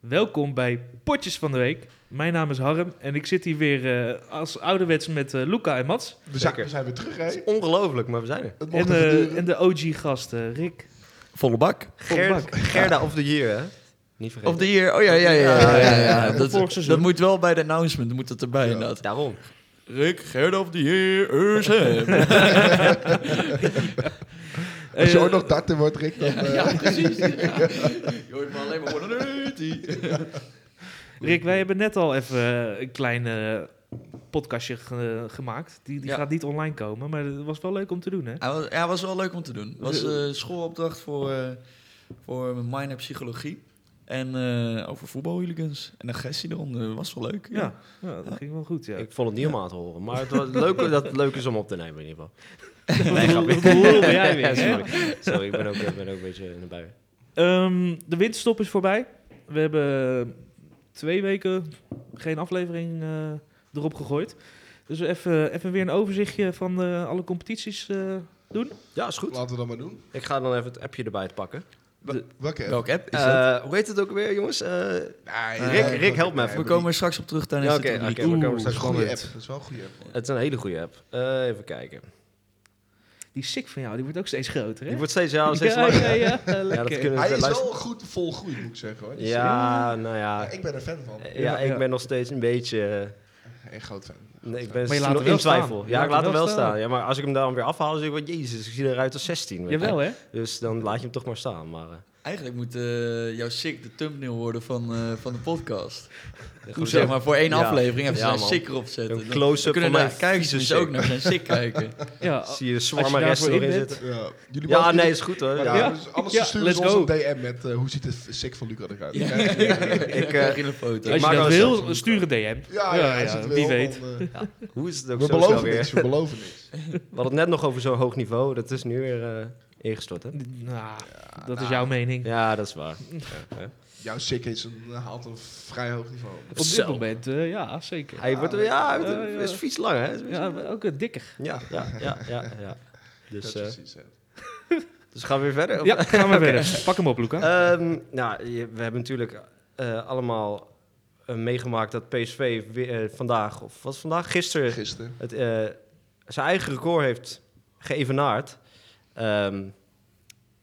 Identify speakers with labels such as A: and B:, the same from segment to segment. A: Welkom bij Potjes van de Week. Mijn naam is Harm en ik zit hier weer eh, als ouderwets met eh, Luca en Mats.
B: We zijn,
C: Zeker.
B: we zijn weer terug,
C: Het
B: hè?
C: is ongelooflijk, maar we zijn er.
A: En,
B: Het mocht er
A: eh,
B: gebeuren.
A: en de OG-gasten, eh, Rick.
D: Volle bak.
A: Volle
C: Ger- Gerda of the Year, hè? Niet vergeten.
D: Of de hier. Oh ja, ja, ja. ja, ja, ja.
A: Vorig
D: Dat,
A: seizoen.
D: dat moet wel bij de announcement. Moet dat erbij inderdaad.
C: Daarom.
D: Rick, Gerda of de hier. is hem.
B: Als je
A: Eh,
B: ook nog darten wordt, Rick, dan... eh,
D: Ja, precies. Ja. Je hoort maar alleen maar worden.
A: Rick, wij hebben net al even eh, een klein eh, podcastje ge- gemaakt. Die, die
D: Ja.
A: gaat niet online komen, maar het was wel leuk om te doen, hè?
D: Ja, was, ja, was wel leuk om te doen. Het was eh schoolopdracht voor, eh voor mijn minor psychologie. En eh over voetbalhooligans. En een gestie eronder. Was wel leuk.
A: Ja, ja, dat ging wel goed, ja.
C: Ik vond het niet om aan te horen, maar het was leuk dat het leuk is om op te nemen in ieder geval.
A: nee, hoe, hoe hoe ben jij weer, hè?
C: sorry. sorry, ik ben ook, ik ben ook een beetje in de bui.
A: Ehm, de winterstop is voorbij. We hebben twee weken geen aflevering eh, erop gegooid. Dus even, even weer een overzichtje van eh, alle competities eh, doen.
C: Ja, is goed.
B: laten we dat maar doen.
C: Ik ga dan even het appje erbij pakken.
B: Welke app?
D: Welke app is dat?
C: Eh, hoe heet het ook weer, jongens? Eh,
B: Nee,
C: Rick,
B: eh,
C: Rick, help me even.
D: We komen er straks op terug tijdens
C: Ja,
D: de
C: oké,
D: rubriek.
C: oké, we komen
D: Oeh,
B: Dat is
C: straks
B: een goede app.
C: Spannend.
B: Dat is wel een goede app.
C: het is een hele goede app. Eh, even kijken.
A: Die sick van jou, die wordt ook steeds groter, hè?
C: Die wordt steeds, ja, steeds
A: ja,
C: langer.
A: ja, ja, lekker.
C: dat kunnen we
B: Hij is
C: luisteren.
B: wel goed volgroeid, moet ik zeggen, hoor. Die is-
C: Ja, nou ja.
B: Ja, Ik ben er fan van.
C: Eh,
A: Ja,
C: Ja,
A: ja.
C: ik ben nog steeds een beetje... eh,
B: Een groot fan.
C: Nee, ik ben
A: Maar je laat
C: nog
A: hem wel
C: in twijfel.
A: staan. Je
C: Ja, ik laat hem wel
A: staan.
C: staan. Ja, maar als ik hem dan weer afhaal, zeg ik van, jezus, ik zie eruit als 16. weet je.
A: Jawel, hè?
C: Dus dan laat je hem toch maar staan. Maar, eh,
D: Eigenlijk moet eh, jouw sick de thumbnail worden van, eh, van de podcast.
C: goed,
D: zeg
C: ja.
D: maar voor één
C: Ja.
D: aflevering even
C: Ja,
D: zijn
C: man.
D: sick erop zetten.
C: Een
D: Dan
C: close-up
D: kunnen
C: van
D: de
C: mijn
D: kijkers
C: vieze
D: dus
C: sick.
D: ook naar zijn sick kijken.
A: Ja,
C: zie je de
A: Als je
C: zwarme
A: daarvoor
C: rest erin
A: in bent.
C: zitten.
B: Ja, jullie
C: Ja,
B: mogen-
C: nee, is goed hoor.
B: Maar
C: Ja.
A: Ja.
B: anders- dus anders
A: Ja,
B: sturen ze
A: let's
B: ons een
A: go.
B: DM met eh, hoe ziet het sick van Luca eruit.
D: Ja.
B: Dan krijg je-
D: ik krijg je een foto.
C: Ik
A: als je
C: maak
A: dat
C: wel
A: wil,
B: zelfs-
A: stuur een DM.
B: Ja, ja, als je het
A: wie
B: wil,
A: weet.
B: dan, eh,
C: Hoe is het ook
B: We
C: zo snel
B: beloven
C: weer?
B: niks, we beloven niks.
C: We hadden het net nog over zo'n hoog niveau. Dat is nu weer eh, ingestort, hè?
A: Nou, dat is jouw mening.
C: Ja, dat is waar. Ja.
B: Jouw sick is een, haalt een vrij hoog niveau.
A: Op dit
C: Zo.
A: moment, eh, ja, zeker.
C: Hij wordt, ja,
A: Ja,
C: hij
A: ja.
C: is fiets lang, hè?
A: Ja,
C: Ja,
A: maar ook een dikker.
C: ja, ja, ja. ja, Dus,
B: Dat
C: eh,
B: is precies, hè.
C: dus gaan we weer verder? of-
A: Ja, gaan we verder. Pak hem op, Luca.
C: Ehm, nou, je- we hebben natuurlijk eh, allemaal eh, meegemaakt dat PSV weer, eh, vandaag, of was het vandaag? Gisteren,
B: Gisteren.
C: het, eh, zijn eigen record heeft geëvenaard. Ehm,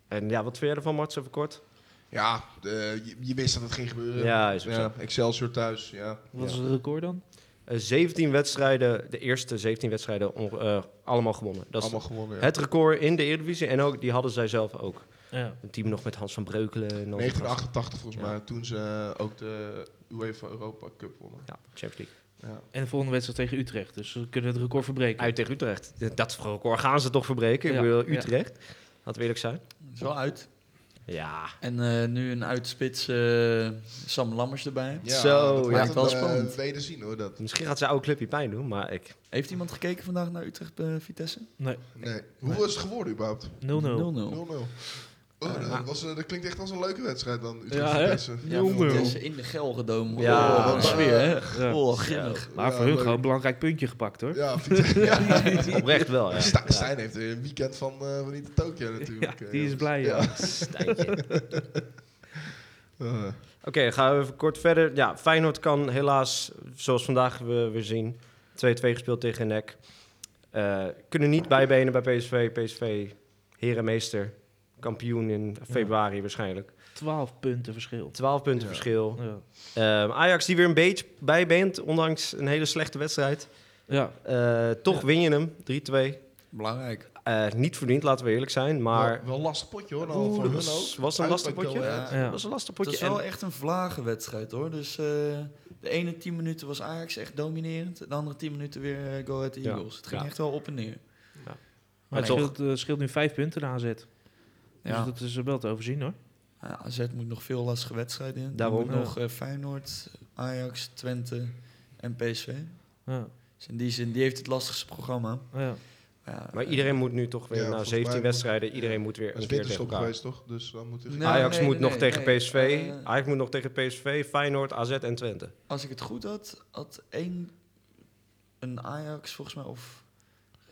C: en ja, wat vind jij ervan, Mart, even kort?
B: Ja, eh, je, je wist dat het ging gebeuren.
C: Ja, is ook zo.
B: Ja, Excelsior thuis, ja.
A: Wat is
C: ja.
A: het record dan?
C: Eh, 17 wedstrijden, de eerste 17 wedstrijden, on- eh, allemaal gewonnen. Dat is
B: Allemaal gewonnen. ja.
C: het record in de Eredivisie en ook, die hadden zij zelf ook.
A: Ja.
C: Een team nog met Hans van Breukelen. En al die gasten.
B: 1988 volgens
C: Ja.
B: mij, toen ze eh, ook de UEFA Europa Cup wonnen.
C: Ja, Champions League.
B: Ja.
A: En de volgende wedstrijd tegen Utrecht. Dus we kunnen het record verbreken.
C: Uit tegen Utrecht. Dat record gaan ze toch verbreken?
A: Ja,
C: Ik bedoel,
A: ja.
C: Utrecht. Laten we eerlijk zijn.
D: Zo uit.
C: Ja,
D: En eh, nu een uitspits eh, Sam Lammers erbij.
B: Ja,
C: Zo,
B: dat laat
C: ja.
D: Lijkt wel
B: het, eh,
D: spannend.
B: Tweede zien hoor, dat.
C: Misschien gaat zijn oude clubje pijn doen, maar ik...
D: Heeft iemand gekeken vandaag naar eh, Utrecht-Vitesse?
B: Nee. Hoeveel is het geworden überhaupt? 0-0.
A: 0-0.
B: 0
D: 0-0.
B: dat, was, eh, dat klinkt echt als een leuke wedstrijd dan.
A: Ja, hè?
B: Utrecht ja,
D: Ja,
A: 0-0.
D: Vitesse in de Gelredome.
C: Ja.
D: Oh, wat een sfeer, hè?
A: Ja.
D: Oh, grimmig.
A: Maar voor hun gewoon een belangrijk puntje gepakt hoor.
B: Ja, Vitesse- ja.
C: Oprecht wel, ja.
B: Sta- Stijn heeft weer een weekend van, eh van niet te Tokio
A: Ja,
B: natuurlijk.
A: die is
B: eh, jongens.
A: blij. Ja.
B: Ja.
C: Stijntje. Oké,
B: Eh,
C: gaan we even kort verder. Ja, Feyenoord kan helaas, zoals vandaag we weer zien, 2-2 gespeeld tegen NEC. Eh, kunnen niet bijbenen bij PSV. PSV, herenmeester, kampioen in februari waarschijnlijk.
A: 12 punten verschil.
C: 12 punten
B: Ja.
C: verschil.
A: Ja.
C: Ehm, Ajax die weer een beetje bijbeent, ondanks een hele slechte wedstrijd.
A: Ja.
C: Eh, toch
A: Ja.
C: win je hem, 3-2.
D: Belangrijk.
C: Eh, niet verdiend, laten we eerlijk zijn, maar...
B: wel, wel een lastig potje hoor, dan
C: Oeh,
B: voor
C: dat
B: hun
C: was-
B: ook.
C: was een
B: Uit
C: lastig
B: bij
C: potje.
B: Go Ahead.
A: Ja.
C: Dat was een lastig
D: Het
C: potje.
D: is
C: En-
D: wel echt een vlagenwedstrijd, hoor. Dus eh, de ene 10 minuten was Ajax echt dominerend. De andere 10 minuten weer eh, Go Ahead
C: Ja.
D: Eagles. Het ging
C: Ja.
D: echt wel op en neer.
A: Maar het
C: toch.
A: scheelt, eh, scheelt nu 5 punten de AZ. Dus
D: Ja.
A: dat is wel te overzien hoor.
D: Ja, AZ moet nog veel lastige wedstrijden in.
C: Daarom.
D: Daarom
A: Ja.
D: nog eh, Feyenoord, Ajax, Twente en PSV.
A: Ja.
D: Dus in die zin, die heeft het lastigste programma.
A: Ja.
D: Ja,
C: Maar
D: eh,
C: iedereen moet nu toch weer,
B: Ja,
C: na
B: volgens
C: 17
B: mij-
C: wedstrijden, iedereen moet weer
B: Dat is
C: een keer tegen
B: winterstop
C: elkaar.
B: geweest toch? Dus dan moet hij...
D: Nee.
C: Ajax moet
D: nee,
C: nog
D: nee,
C: tegen
D: nee.
C: PSV,
D: Eh,
C: Ajax moet nog tegen PSV, Feyenoord, AZ en Twente.
D: Als ik het goed had, had één een Ajax volgens mij of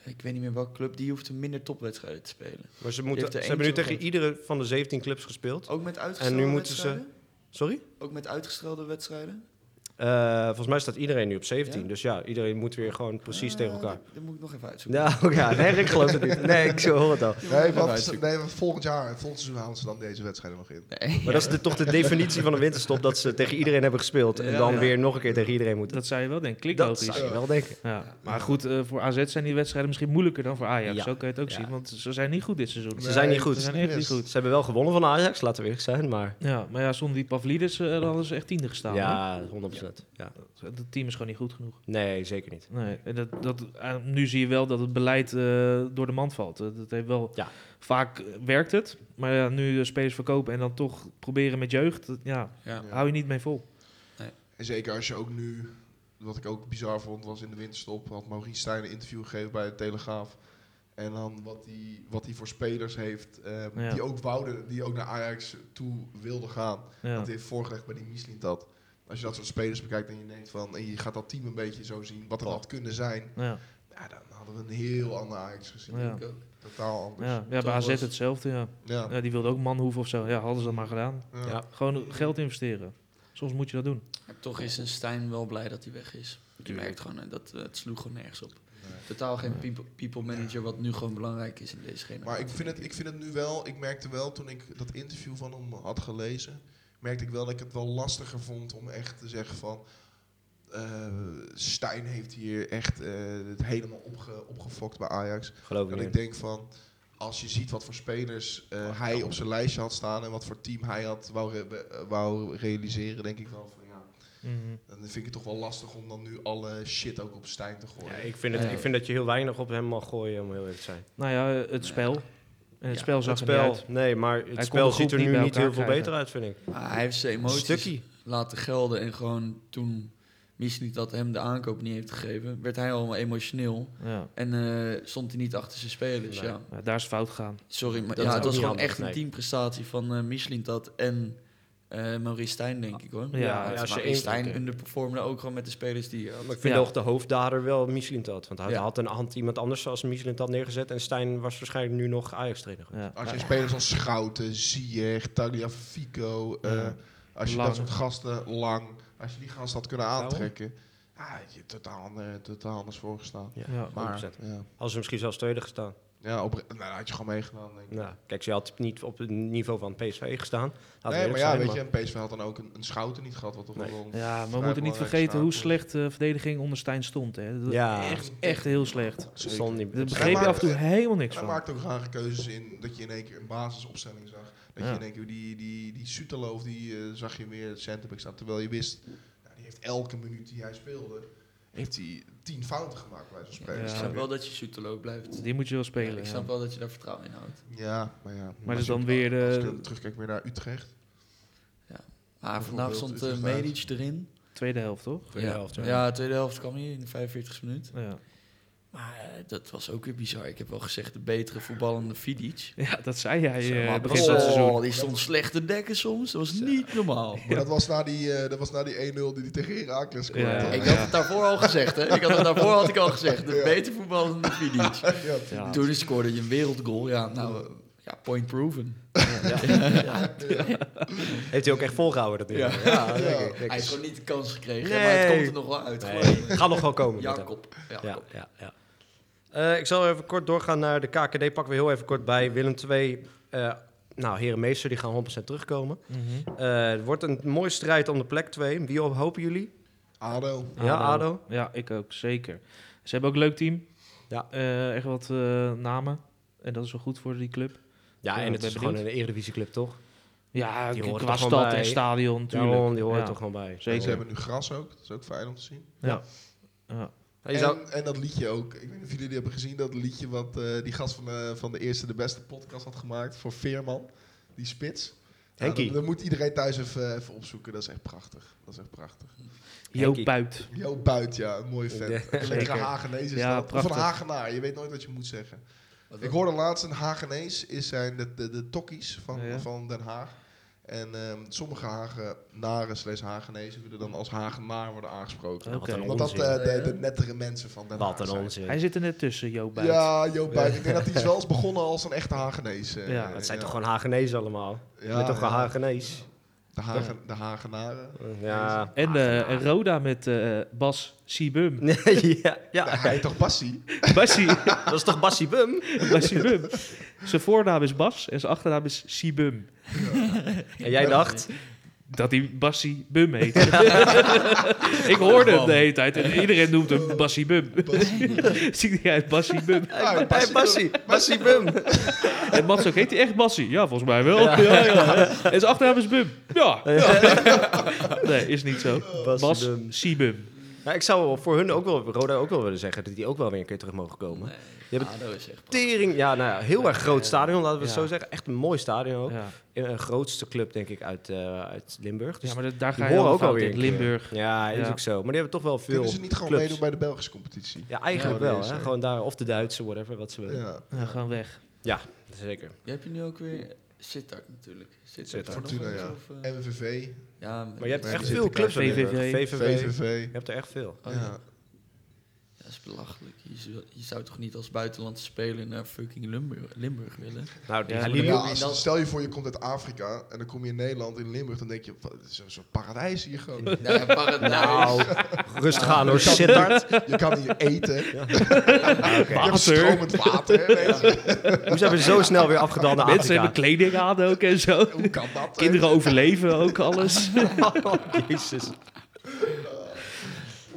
D: ik weet niet meer welke club, die hoeft een minder topwedstrijden te spelen.
C: Maar ze, moeten,
D: heeft er
C: ze hebben nu
D: eentje
C: tegen
D: nog.
B: Oh.
C: iedere van de 17 clubs gespeeld.
D: Ook met uitgestelde
C: En nu moeten ze-
D: wedstrijden?
C: Ze Sorry?
D: Ook met uitgestelde wedstrijden?
C: Eh, volgens mij staat iedereen nu op 17.
D: Ja?
C: Dus ja, iedereen moet weer gewoon precies
D: Ah,
C: tegen elkaar.
D: Dat, dat moet ik nog even uitzoeken.
C: Nou ja, nee, ik geloof het niet. Nee, ik hoor het al.
B: Nee,
D: even
B: want,
D: uitzoeken.
B: nee, want volgend jaar, volgend seizoen halen ze dan deze wedstrijden nog in.
D: Nee.
C: Maar dat is de- toch de definitie van een winterstop, dat ze tegen iedereen hebben gespeeld. En
D: Ja,
C: dan
D: ja.
C: weer nog een keer tegen iedereen moeten.
A: Dat zou je wel denken, klinkt
C: Dat
A: logisch.
C: zou je wel denken.
A: Ja. Maar goed, eh, voor AZ zijn die wedstrijden misschien moeilijker dan voor Ajax.
C: Ja.
A: Zo kan je het ook
C: Ja.
A: zien, want ze zijn niet goed dit seizoen.
C: Ze zijn niet goed.
A: Ze zijn echt niet
B: Yes.
A: goed.
C: Ze hebben wel gewonnen van Ajax, laten we eerlijk zijn. Maar
A: Ja, maar ja, zonder die Pavlidis eh, hadden ze echt tiende gestaan.
C: ja, 100%. Ja.
A: hè? Het team is gewoon niet goed genoeg.
C: Nee, zeker niet.
A: Nee, en dat, dat, eh, nu zie je wel dat het beleid eh, door de mand valt. Eh, dat heeft wel,
C: Ja.
A: Vaak eh, werkt het, maar ja, nu de spelers verkopen en dan toch proberen met jeugd, dat- ja,
D: Ja.
A: hou je niet mee vol.
B: En zeker als je ook nu, wat ik ook bizar vond, was in de winterstop, had Maurice Stijn een interview gegeven bij de Telegraaf. En dan wat hij wat die voor spelers heeft, ehm,
A: Ja.
B: die ook wouden, die ook naar Ajax toe wilden gaan.
A: Ja.
B: Dat hij heeft voorgelegd bij die Misling dat. Als je dat soort spelers bekijkt en je denkt van, en je gaat dat team een beetje zo zien, wat er had kunnen zijn.
A: Ja,
B: Ja, dan hadden we een heel ander Ajax gezien.
A: Ja.
B: denk ik ook. Totaal anders.
A: ja, ja bij AZ
D: was-
A: hetzelfde, ja.
B: Ja.
A: ja. Die wilde ook manhoeven of zo. Ja, hadden ze dat maar gedaan.
B: Ja.
C: Ja.
A: Gewoon geld investeren. Soms moet je dat doen.
D: Maar Toch is een Stijn wel blij dat hij weg is. Je merkt gewoon, eh, dat eh, het sloeg gewoon nergens op. Totaal geen people, people manager, wat nu gewoon belangrijk is in deze generatie.
B: Maar ik vind, het, ik vind het nu wel, ik merkte wel toen ik dat interview van hem had gelezen, merkte ik wel dat ik het wel lastiger vond om echt te zeggen van, eh, Stijn heeft hier echt eh, het helemaal opge, opgefokt bij Ajax.
C: Geloof ik
B: Dat ik
C: niet.
B: denk van, als je ziet wat voor spelers eh, hij op zijn lijstje had staan en wat voor team hij had wou, re- eh, wou realiseren, denk ik wel van ja,
A: Mhm.
B: dan vind ik het toch wel lastig om dan nu alle shit ook op Stijn te
C: Ja,
B: gooien.
C: ik, vind het, ik vind dat je heel weinig op hem mag gooien, om heel eerlijk te zijn.
A: Nou ja, het spel. En het
D: Ja,
A: spel
C: Het
A: zag er niet
C: spel,
A: uit.
C: nee, maar het
A: kon
C: spel
A: de groep
C: ziet er
A: niet
C: nu
A: bij
C: niet heel
A: elkaar
C: veel
A: krijgen.
C: beter uit, vind ik.
D: Maar Ah, hij heeft zijn
C: Een
D: emoties
C: stukje.
D: laten gelden. En gewoon toen Misling dat hem de aankoop niet heeft gegeven, werd hij allemaal emotioneel.
A: Ja.
D: En eh, stond hij niet achter zijn spelers.
C: Nee.
D: Ja.
A: Ja, daar is fout gaan.
D: Sorry, maar
C: Dat is
D: ja, het
C: ook
D: was
C: niet
D: gewoon
C: handig,
D: echt een
C: nee.
D: teamprestatie van eh Michelin dat en eh Maurice Stijn, denk ik hoor.
A: Ja, ja,
D: als
C: als je
D: Maurice
C: één-
D: Stijn
C: oké.
D: underperformde ook gewoon met de spelers die... eh,
C: Maar ik vind
A: Ja.
C: ook de hoofddader wel Michelin dat. Want hij
D: Ja.
C: had een hand iemand anders als Michelin dat neergezet. En Stijn was waarschijnlijk nu nog Ajax-trainer. geweest.
A: Ja.
B: Als je spelers als Schouten, Ziyech, Tagliafico, eh,
A: Ja.
B: als je
A: Lang.
B: dat soort gasten lang, als je die gasten had kunnen aantrekken, ja, je hebt totaal, ander- totaal anders voorgestaan.
C: Ja.
A: Ja.
B: Maar
C: 100%.
B: ja,
C: Als ze misschien zelfs tweede gestaan.
B: ja op, nou, dat had je gewoon meegedaan denk ik.
C: Nou, kijk, ze had niet op het niveau van PSV gestaan. Laten we
B: nee,
C: eerlijk
B: maar ja,
C: zijn,
B: weet je, en PSV had dan ook een, een Schouten niet gehad, wat toch
C: Nee.
B: wel een
A: Ja, maar we
B: vrij
A: moeten niet
B: belangrijke
A: vergeten
B: staat
A: hoe
B: was.
A: slecht de verdediging onder Stijn stond. Hè. Dat-
C: Ja.
A: Echt, echt heel slecht.
C: Ze stonden niet...
A: Daar
C: ze-
A: begreep je
B: maar-
A: af en toe helemaal niks
B: Hij
A: van.
B: maakte ook rare keuzes in dat je in één keer een basisopstelling zag. Dat
A: Ja.
B: je in één keer die, die, die Sutalo of die eh, zag je weer centerback staan. Terwijl je wist, nou, die heeft elke minuut die hij speelde, heeft hij tien fouten gemaakt bij zo'n
A: Ja.
B: speler.
D: Ik
B: Snap
D: snap
B: je?
D: wel dat je shooterloop blijft.
A: Die moet je wel
D: Ja,
A: spelen.
D: ik
A: ja.
D: snap wel dat je daar vertrouwen in houdt.
B: Ja, maar ja.
A: Maar
B: als
A: dus dan
B: je-
A: weer
B: Als
A: de
B: ik dan terugkijk weer naar Utrecht.
D: Ah, vandaag
B: Bijvoorbeeld,
D: stond
B: Utrecht
D: eh,
B: uit.
D: Medic erin.
A: tweede helft, toch?
C: Tweede
D: ja.
C: helft, ja.
D: ja. tweede helft kwam hij in de 45 minuut.
A: Ja,
D: Maar eh, dat was ook weer bizar. Ik heb wel gezegd, de betere voetballende Vidic.
A: ja dat zei jij
D: Maar
A: eh begin van het seizoen.
D: oh, die stond slecht te dekken soms. Dat was niet normaal.
B: Maar dat was na die, eh, dat was na die 1-0 die hij tegen Herakles scoorde.
A: Ja.
B: Ja,
D: Ik had het daarvoor al gezegd, hè? Ik had het daarvoor had ik al gezegd. De
B: Ja.
D: beter voetballer dan de Vidic.
A: Ja.
D: Toen scoorde je een wereldgoal. Ja, nou, eh, ja, point proven.
C: Heeft hij ook echt volgehouden, dat nu?
D: Ja.
C: Ja, denk ik, denk
D: Hij heeft
C: ik.
D: gewoon niet de kans gekregen,
C: Nee.
D: maar het komt er nog wel uit.
C: Nee,
D: geloof me.
C: gaat nog wel komen. met hem.
D: Jacob.
C: Ja,
D: Jacob.
C: ja, ja. Eh, ik zal even kort doorgaan naar de KKD. Pakken we heel even kort bij. Willem 2. nou, Herenmeester, die gaan 100% terugkomen.
A: Mhm.
C: Eh, het wordt een mooie strijd om de plek 2. Wie op hopen jullie?
B: ADO.
C: Ja, ADO.
A: Ja, ik ook, zeker. Ze hebben ook een leuk team.
C: Ja.
A: Eh, echt wat eh, namen. En dat is wel goed voor die club.
C: Ja,
A: Ja,
C: en
A: ik
C: het
A: ben
C: is gewoon
A: benieuwd.
C: een Eredivisieclub, toch?
A: Ja,
C: Die hoort
A: qua
C: er gewoon
A: stad
C: bij.
A: en stadion natuurlijk.
C: Daarom, die hoort
A: Ja.
C: er gewoon bij.
A: Zeker.
B: Ze hebben nu gras ook, dat is ook fijn om te zien.
A: Ja.
C: Ja, je zou-
B: En, en dat liedje ook. Ik weet niet of jullie die hebben gezien, dat liedje wat eh, die gast van de, van de eerste, de beste podcast had gemaakt voor Veerman. Die spits. Nou,
C: Henkie.
B: dat, dat moet iedereen thuis even, even opzoeken. Dat is echt prachtig. Dat is echt prachtig.
A: Joop
C: Henkie.
A: Buit.
B: Jo Buit, ja, een mooie vent.
C: Ja,
B: een lekkere
A: zeker.
B: Hagenees is
A: Ja,
B: dat. Of
A: prachtig.
B: een Hagenaar, je weet nooit wat je moet zeggen.
D: Wat
B: Ik hoorde laatst, een Hagenees is zijn de, de, de tokkies van,
A: Ja, ja.
B: van Den Haag. En ehm, sommige Hagenaren slash Hagenezen willen dan als Hagenaar worden aangesproken.
A: Oké.
C: Wat een
B: Want dat
C: onzin.
B: eh, de, de nettere mensen van Den Haag
C: Wat een
B: zijn.
C: onzin.
A: Hij zit er net tussen, Joop Buit.
B: Ja, Joop Buit. Ik denk dat hij is wel eens begonnen als een echte Hagenees. eh,
A: Ja,
B: eh,
C: Het zijn toch gewoon Hagenees allemaal?
B: Ja,
C: Ja, toch
B: ja.
C: gewoon Hagenees?
B: De, Hagen, de Hagenaren.
C: Ja.
A: En, eh, en Roda met eh, Bas Sibum.
C: ja,
B: Ja,
C: ja.
B: hij heet toch Bassie?
A: Bassie,
C: Dat is toch Bassie Bum?
A: Bas Sibum. Zijn voornaam is Bas en zijn achternaam is Sibum.
C: En jij dacht,
A: Dat hij Bassie Bum heet. ik hoorde hem de hele tijd en iedereen noemt hem Bassie Bum. Ziet hij uit Bassie Bum.
B: Ah,
C: hey, Bassie, Bassie, Bum.
A: En Mats ook, heet hij echt Bassie? Ja, volgens mij wel. Ja. Ja, En zijn achternaam is Bum. Ja. Nee, is niet zo.
C: Bassie
A: Bas
C: Bum.
A: Sibum.
C: Ja, Nou, ik zou voor hun ook wel, Roda ook wel willen zeggen, dat die ook wel weer een keer terug mogen komen. Je hebt
D: ADO Ah, is echt...
C: Tering, ja, nou ja, heel erg groot stadion, laten we het
A: Ja.
C: zo zeggen. Echt een mooi stadion ook.
A: Ja.
C: In Een grootste club, denk ik, uit, eh, uit Limburg. Dus
A: ja, maar dat- daar
C: die
A: ga je
C: horen
A: ook
C: ook
A: fout
C: alweer
A: in.
C: een keer.
A: Limburg.
C: Ja, is
A: Ja.
C: ook zo. Maar die hebben toch wel veel
B: Kunnen ze niet gewoon
C: clubs.
B: meedoen bij de Belgische competitie?
C: Ja, eigenlijk
B: Ja,
C: wel.
B: dat is
C: Hè?
B: er.
C: Gewoon daar, of de Duitse, whatever, wat ze willen.
B: Ja.
A: Ja, gewoon weg.
C: Zeker.
D: Je hebt je nu ook weer... Sittard natuurlijk. Sittard.
C: Sittard.
D: Nog
B: Fortuna,
D: wel eens,
B: ja.
D: of, eh,
B: MVV,
D: ja,
C: Maar je hebt
B: Maar
C: echt
B: die
C: veel
B: zitten
C: clubs. in
A: elkaar.
C: Limburg. VVV.
B: VVV.
C: Je hebt er echt veel.
D: Oh, ja.
B: ja.
D: Dat is belachelijk. Je zou, je zou toch niet als buitenlandse speler naar fucking Limburg, Limburg willen?
C: Nou, die
A: Ja,
C: gaan
A: maar
C: die
B: Ja,
C: doen.
B: als- stel je voor, je komt uit Afrika en dan kom je in Nederland, in Limburg, dan denk je, wat, het is een soort paradijs hier gewoon.
D: Nou, ja, paradijs.
C: Nou, rustig aan hoor,
B: Je kan
C: Sittard.
B: hier- Je kan hier eten, je
C: Ah,
B: hebt
C: oké.
A: Water.
B: stromend water. weet je.
C: Hoe zijn we zo snel weer afgedaan naar
A: Mensen
C: Afrika?
A: hebben kleding aan ook en zo.
B: Hoe kan dat?
A: Kinderen overleven ook alles.
C: Jezus.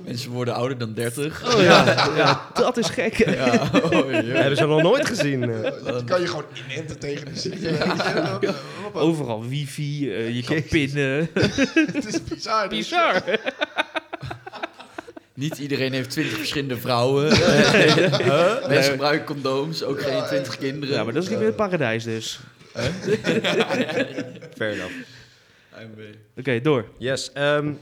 D: Mensen worden ouder dan 30.
A: Oh ja, ja, dat is gek.
D: Ja, oh,
C: Dat
D: ja.
C: hebben ze nog nooit gezien. eh.
B: Je kan je gewoon inenten tegen de ziekte.
A: Overal wifi, eh, je kan pinnen.
B: Het is bizar. dus- dit.
A: Bizar.
D: Niet iedereen heeft 20 verschillende vrouwen. Mensen gebruiken condooms, ook geen 20 kinderen.
A: Ja, maar dat is niet meer het paradijs dus.
C: Fair enough.
A: Oké, door.
C: Yes. ehm,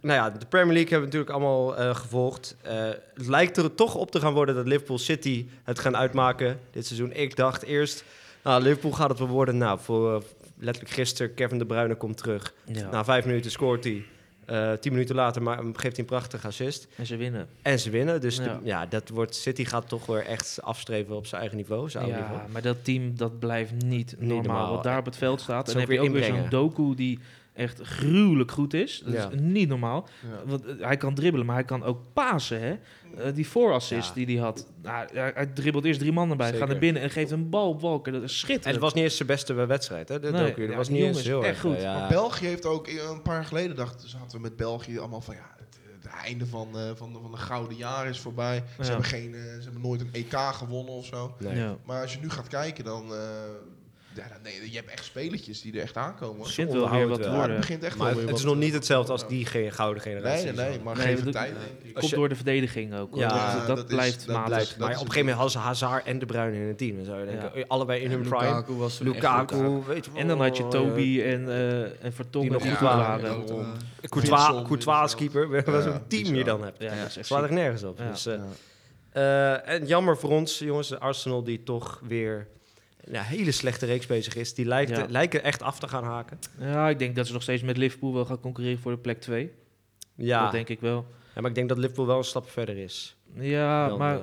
C: nou ja, de Premier League hebben we natuurlijk allemaal eh, gevolgd. Eh, het lijkt er toch op te gaan worden dat Liverpool City het gaan uitmaken dit seizoen. Ik dacht eerst, nou, Liverpool gaat het wel worden. Nou, voor, eh, letterlijk gisteren, Kevin De Bruyne komt terug.
A: Ja.
C: Na vijf minuten scoort hij. Eh, tien minuten later ma- geeft hij een prachtige assist.
A: En ze winnen.
C: En ze winnen. Dus de- ja.
A: Ja.
C: dat wordt, City gaat toch weer echt afstreven op zijn eigen niveau. Zijn oude niveau.
A: Ja, maar dat team dat blijft niet normaal.
C: normaal.
A: Wat daar op het veld staat.
C: is
A: En dan
C: ook
A: heb je
C: weer
A: ook weer zo'n
C: inbrengen.
A: doku die echt gruwelijk goed is. Dat
C: Ja.
A: is niet normaal.
B: Ja.
A: Want eh, hij kan dribbelen, maar hij kan ook pasen. Hè? Eh, die voorassist
C: Ja.
A: die hij had. Nou, hij, hij dribbelt eerst drie mannen bij, gaat
C: Zeker.
A: naar binnen en geeft een bal op Walker. Dat is
C: En het
A: schitterend.
C: was niet eens zijn beste wedstrijd. Hè? Dat
A: Nee,
C: ook, dat
A: ja,
C: was
A: die
C: niet
A: jongen
C: eens
A: is
C: heel
A: echt
C: erg
A: goed.
C: eh, ja.
B: Maar België heeft ook eh, een paar jaar geleden dacht, zaten we met België allemaal van ja, het, het einde van, eh, van, de, van de gouden jaren is voorbij. Ze,
A: Ja.
B: hebben geen, eh, ze hebben nooit een EK gewonnen of zo.
C: Nee.
A: Ja.
B: Maar als je nu gaat kijken, dan, eh, ja, dan nee, je hebt echt speletjes die er echt aankomen.
A: Begint wel weer
C: onderhouden
A: wat
C: het
A: te
C: wel.
B: Ja, het
A: worden.
B: begint echt
C: Maar
B: wel weer
C: het is
B: wat-
C: nog niet hetzelfde als
B: Ja.
C: die ge- gouden generatie.
B: Nee, nee, nee, maar
A: Nee,
B: geef
A: dat-
B: het tijd. denk ik.
C: Als
A: Komt
C: je-
A: door de verdediging ook.
C: Ja,
A: Ja, dat,
B: dat is-
A: blijft
B: dat
A: matig.
B: blijft-
C: Maar op
B: is
C: een
B: het
C: gegeven moment hadden ze Hazard en De Bruyne in het team. Dan zou je denken, eh, allebei in hun prime.
D: Lukaku was toen echt
C: Lukaku, weet je wel.
A: En dan had je Toby en, eh en Vertongen
C: Die nog
A: die
C: goed
A: goed
C: waren.
A: waren.
C: Eh, Courtois,
B: Vincent,
C: Courtois als keeper. Wat
B: Ja,
C: een team
B: bizar.
C: je dan hebt.
A: Ja, dat is echt
C: Het slaat
A: ziek.
C: echt nergens op.
A: Ja.
C: Dus, eh,
B: Ja.
C: eh, en jammer voor ons, jongens. Arsenal die toch weer een hele slechte reeks bezig is. Die lijkt,
A: Ja.
C: lijken echt af te gaan haken.
A: Ja, ik denk dat ze nog steeds met Liverpool wel gaan concurreren voor de plek 2.
C: Ja.
A: Dat denk ik wel.
C: ja, maar ik denk dat Liverpool wel een stap verder is.
A: Ja,
C: dan,
A: maar
C: eh,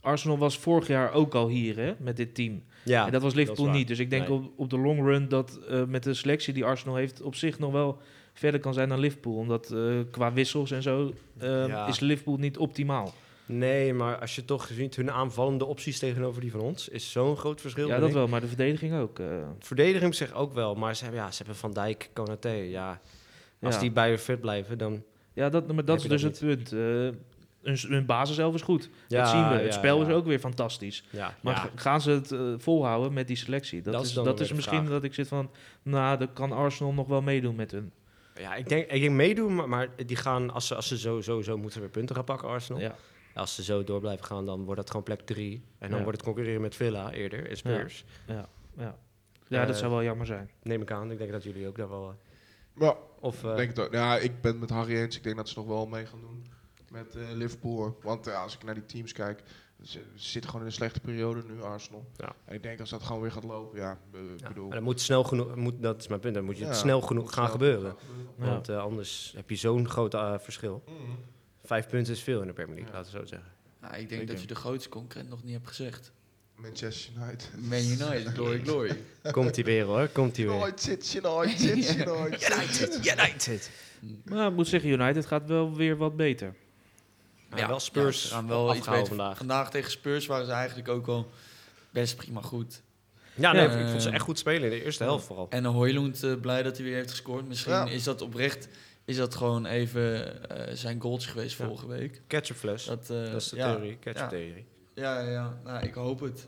A: Arsenal was vorig jaar ook al hier hè, met dit team.
C: ja.
A: en dat was Liverpool
C: waar.
A: niet. Dus ik denk
C: Nee.
A: op, op de long run dat eh, met de selectie die Arsenal heeft... op zich nog wel verder kan zijn dan Liverpool. Omdat eh, qua wissels en zo eh,
C: Ja.
A: is Liverpool niet optimaal.
C: Nee, maar als je toch ziet, hun aanvallende opties tegenover die van ons is zo'n groot verschil.
A: ja,
C: vind
A: dat
C: ik.
A: wel. Maar de verdediging ook. eh.
C: Verdediging zeg ook wel, maar ze hebben, ja, ze hebben Van Dijk, Konaté. Ja. Als
A: Ja.
C: die bij hun fit blijven, dan...
A: ja, dat, maar dat
C: Heb
A: is
C: je
A: dus
C: dat
A: het punt. Eh, hun, hun basiself is goed.
C: Ja,
A: dat zien we.
C: ja,
A: Het spel
C: ja.
A: is ook weer fantastisch.
C: Ja,
A: Maar
C: ja.
A: g- gaan ze het eh, volhouden met die selectie? Dat,
C: Dat is
A: is,
C: dan
A: dat
C: weer
A: is
C: de
A: misschien
C: vraag.
A: dat ik zit van... Nou, dan kan Arsenal nog wel meedoen met hun.
C: Ja, ik denk, ik denk meedoen, maar, maar die gaan, als ze, als ze zo, zo, zo moeten weer punten gaan pakken, Arsenal.
A: Ja.
C: Als ze zo door blijven gaan, dan wordt dat gewoon plek drie. En dan
A: Ja.
C: wordt het concurreren met Villa eerder en Spurs.
A: Ja, dat
C: Eh,
A: zou wel jammer zijn.
C: Neem ik aan. Ik denk dat jullie ook daar wel... eh,
B: Ja,
C: Of, eh,
B: denk het ook. ja, ik ben met Harry eens. Ik denk dat ze nog wel mee gaan doen met eh, Liverpool. hoor. Want eh, als ik naar die teams kijk, ze, ze zitten gewoon in een slechte periode nu, Arsenal.
C: Ja.
B: En ik denk als dat gewoon weer gaat lopen, ja, eh, ik
C: ja.
B: bedoel...
C: Maar dat moet snel genoeg... Moet, dat is mijn punt. Dan moet je het
B: ja,
C: snel genoeg
B: moet
C: gaan
B: snel
C: gebeuren.
B: gaan gebeuren.
A: Ja.
C: Want eh, anders heb je zo'n groot eh, verschil.
B: Mhm.
C: Vijf punten is veel in de Premier League,
B: Ja.
C: laten we zo zeggen.
D: Nou, ik denk dat je de grootste concurrent nog niet hebt gezegd.
B: Manchester United.
D: Man United, glory, glory.
C: Komt die weer hoor, komt die weer.
B: United, United, United.
C: United.
A: Maar ik moet zeggen, United gaat wel weer wat beter.
C: Maar wel Spurs
D: ja, ze gaan wel iets beter.
C: afgehouden
D: Vandaag.
C: vandaag.
D: tegen Spurs waren ze eigenlijk ook al best prima goed.
C: Ja, nee,
D: Ja.
C: ik vond ze echt goed spelen in de eerste helft vooral.
D: En Hoylund, eh, blij dat hij weer heeft gescoord. Misschien
B: Ja.
D: is dat oprecht is dat gewoon even eh, zijn goaltje geweest
C: Ja.
D: vorige week.
C: Ketchupfles, dat,
D: Dat, eh,
C: dat is de
D: ja.
C: theorie. Ketchuptheorie.
D: Ja, ja, ja. Nou, ik hoop het.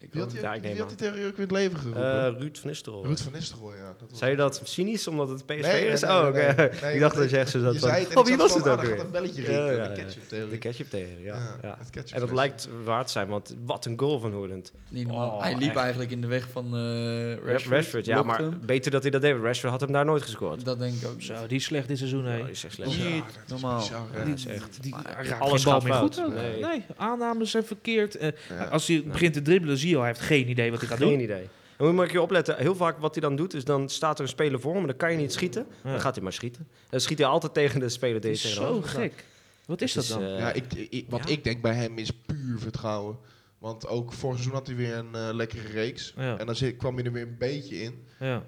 D: Ik
B: Wie
D: hoop
B: had die,
D: het.
C: Ja, ik neem
B: wie had
C: aan.
B: die theorie ook weer het leven geroepen?
C: Eh, Ruud van Nistelrooy.
B: Ruud van Nistelrooy, ja. Dat was
C: Zei je dat cynisch omdat het PSV
B: Nee,
C: is?
B: nee,
C: oh,
B: nee,
C: oké.
B: nee.
C: ik
B: Nee,
C: dacht
B: want
C: dat je echt zo zat
B: je
C: van,
B: zei het en
C: Oh,
B: ik
C: wie
B: zat
C: was
B: van,
C: het
B: ah, daar
C: ook
B: gaat
C: weer?
B: een belletje
C: Ja,
B: rinkelen,
C: ja,
B: de
C: ja.
B: ketchuptheorie.
C: De ketchuptheorie, ja.
B: Ja,
C: ja.
B: het ketchup
C: En dat
B: fles.
C: lijkt waard zijn, want wat een goal van Hoorland.
D: Niet normaal.
C: Oh,
D: hij liep
C: echt.
D: eigenlijk in de weg van eh Rashford.
C: Rashford, ja,
D: Lokte
C: maar
D: hem.
C: beter dat hij dat deed. want Rashford had hem daar nooit gescoord.
D: Dat denk ik ook.
A: Zo, die is slecht dit seizoen, hè.
C: Ja, is echt slecht.
D: Niet
B: Ja, dat is
D: normaal.
B: bizar, hè.
A: Die-
C: is echt-
A: die,
D: Maar
A: hij raakt
C: alles
A: geen bal
C: gaat
A: meer
C: fout.
A: goed. ook.
C: Nee.
A: Nee. aannames zijn verkeerd. Eh,
B: Ja.
A: Als hij begint te dribbelen, zie je al, hij heeft geen idee wat hij gaat
C: Geen
A: doen.
C: idee. En moet je maar een keer opletten. Heel vaak wat hij dan doet, is dan staat er een speler voor hem. en Dan kan je niet schieten. Dan
A: Ja.
C: gaat hij maar schieten. Dan schiet hij altijd tegen de speler
A: Dat
C: die
A: is
C: hij
A: zo
C: tegenover staat.
A: gek. Wat is
C: Het
A: dat dan?
C: eh,
B: ja, ik, ik- wat
C: ja.
B: ik denk bij hem is puur vertrouwen. Want ook vorig seizoen had hij weer een eh, lekkere reeks.
A: Ja,
B: En dan zit, kwam je er weer een beetje in.
A: ja.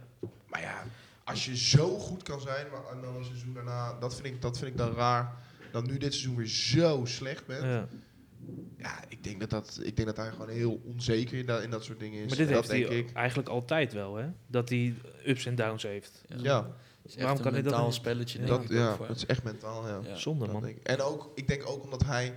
B: Maar ja, als je zo goed kan zijn, maar en dan een seizoen daarna, dat vind ik, dat vind ik dan raar. Dat nu dit seizoen weer zo slecht bent. Ja,
A: ja.
B: ik, denk dat dat, ik denk dat hij gewoon heel onzeker in, dat- in dat soort dingen is.
A: Maar dit
B: En dat
A: heeft
B: denk
A: hij
B: ik.
A: eigenlijk altijd wel, hè? Dat hij ups en downs heeft.
B: Ja,
D: Het is echt
A: Waarom kan
D: een
A: hij dat
D: mentaal
A: niet-
D: spelletje, denk
B: dat,
D: ik.
B: ja,
D: ook voor
B: dat is echt mentaal. Ja.
D: hem. Ja.
A: Zonde,
B: Dat
A: man.
B: denk ik. En ook, ik denk ook omdat hij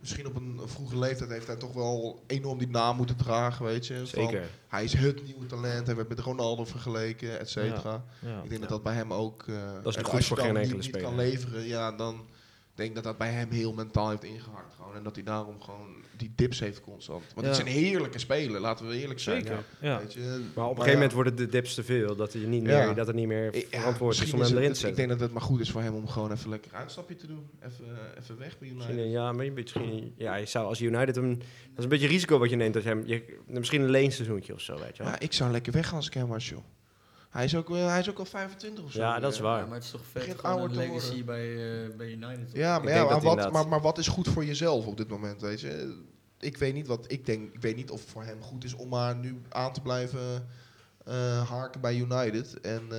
B: misschien op een vroege leeftijd heeft hij toch wel enorm die naam moeten dragen, weet je. Van,
C: Zeker.
B: hij is het nieuwe talent. Hij werd met Ronaldo vergeleken, et cetera.
A: Ja.
B: Ik denk dat
C: Ja.
B: dat bij hem ook... eh, en
C: niet goed
B: als je
C: voor
B: dan
C: geen
B: niet-
C: enkele
B: niet
C: speler.
B: kan leveren, ja, dan denk ik dat dat bij hem heel mentaal heeft ingehakt. Gewoon. En dat hij daarom gewoon die dips heeft constant. Want het
A: Ja.
B: zijn heerlijke spelen, laten we eerlijk zijn.
A: Zeker. Ja.
B: Weet je?
C: Maar op een
B: Maar
C: gegeven
B: ja.
C: moment worden de dips te veel. Dat, hij niet meer,
B: Ja.
C: dat het niet meer
B: Ik- ja,
C: verantwoord is
B: misschien
C: om hem
B: het-
C: erin te
B: het- Ik
C: zetten.
B: denk dat het maar goed is voor hem om gewoon even lekker een uitstapje te doen. Even, eh, even weg bij United.
C: Misschien, eh, ja, maar je- misschien, ja, je zou als United hem... Dat is een beetje risico wat je neemt. Dat je hem, je- misschien een leenseizoentje of zo, weet je wel.
B: Ja, ik zou lekker weggaan als ik hem was, joh. Hij is ook, eh, hij is ook al 25 of zo. eh,
C: Oh Ja, dat is waar.
D: Ja, maar het is toch vet
B: Begint
D: gewoon
B: ouder
D: een
B: te
D: legacy
B: worden.
D: bij, eh, bij United. toch?
B: Ja,
C: Ik
B: maar,
C: denk
B: ja, maar,
C: dat
B: wat,
C: inderdaad.
B: maar, maar wat is goed voor jezelf op dit moment, weet je? Ik weet niet, wat, ik, denk, ik weet niet of het voor hem goed is om maar nu aan te blijven eh, haken bij United. En eh,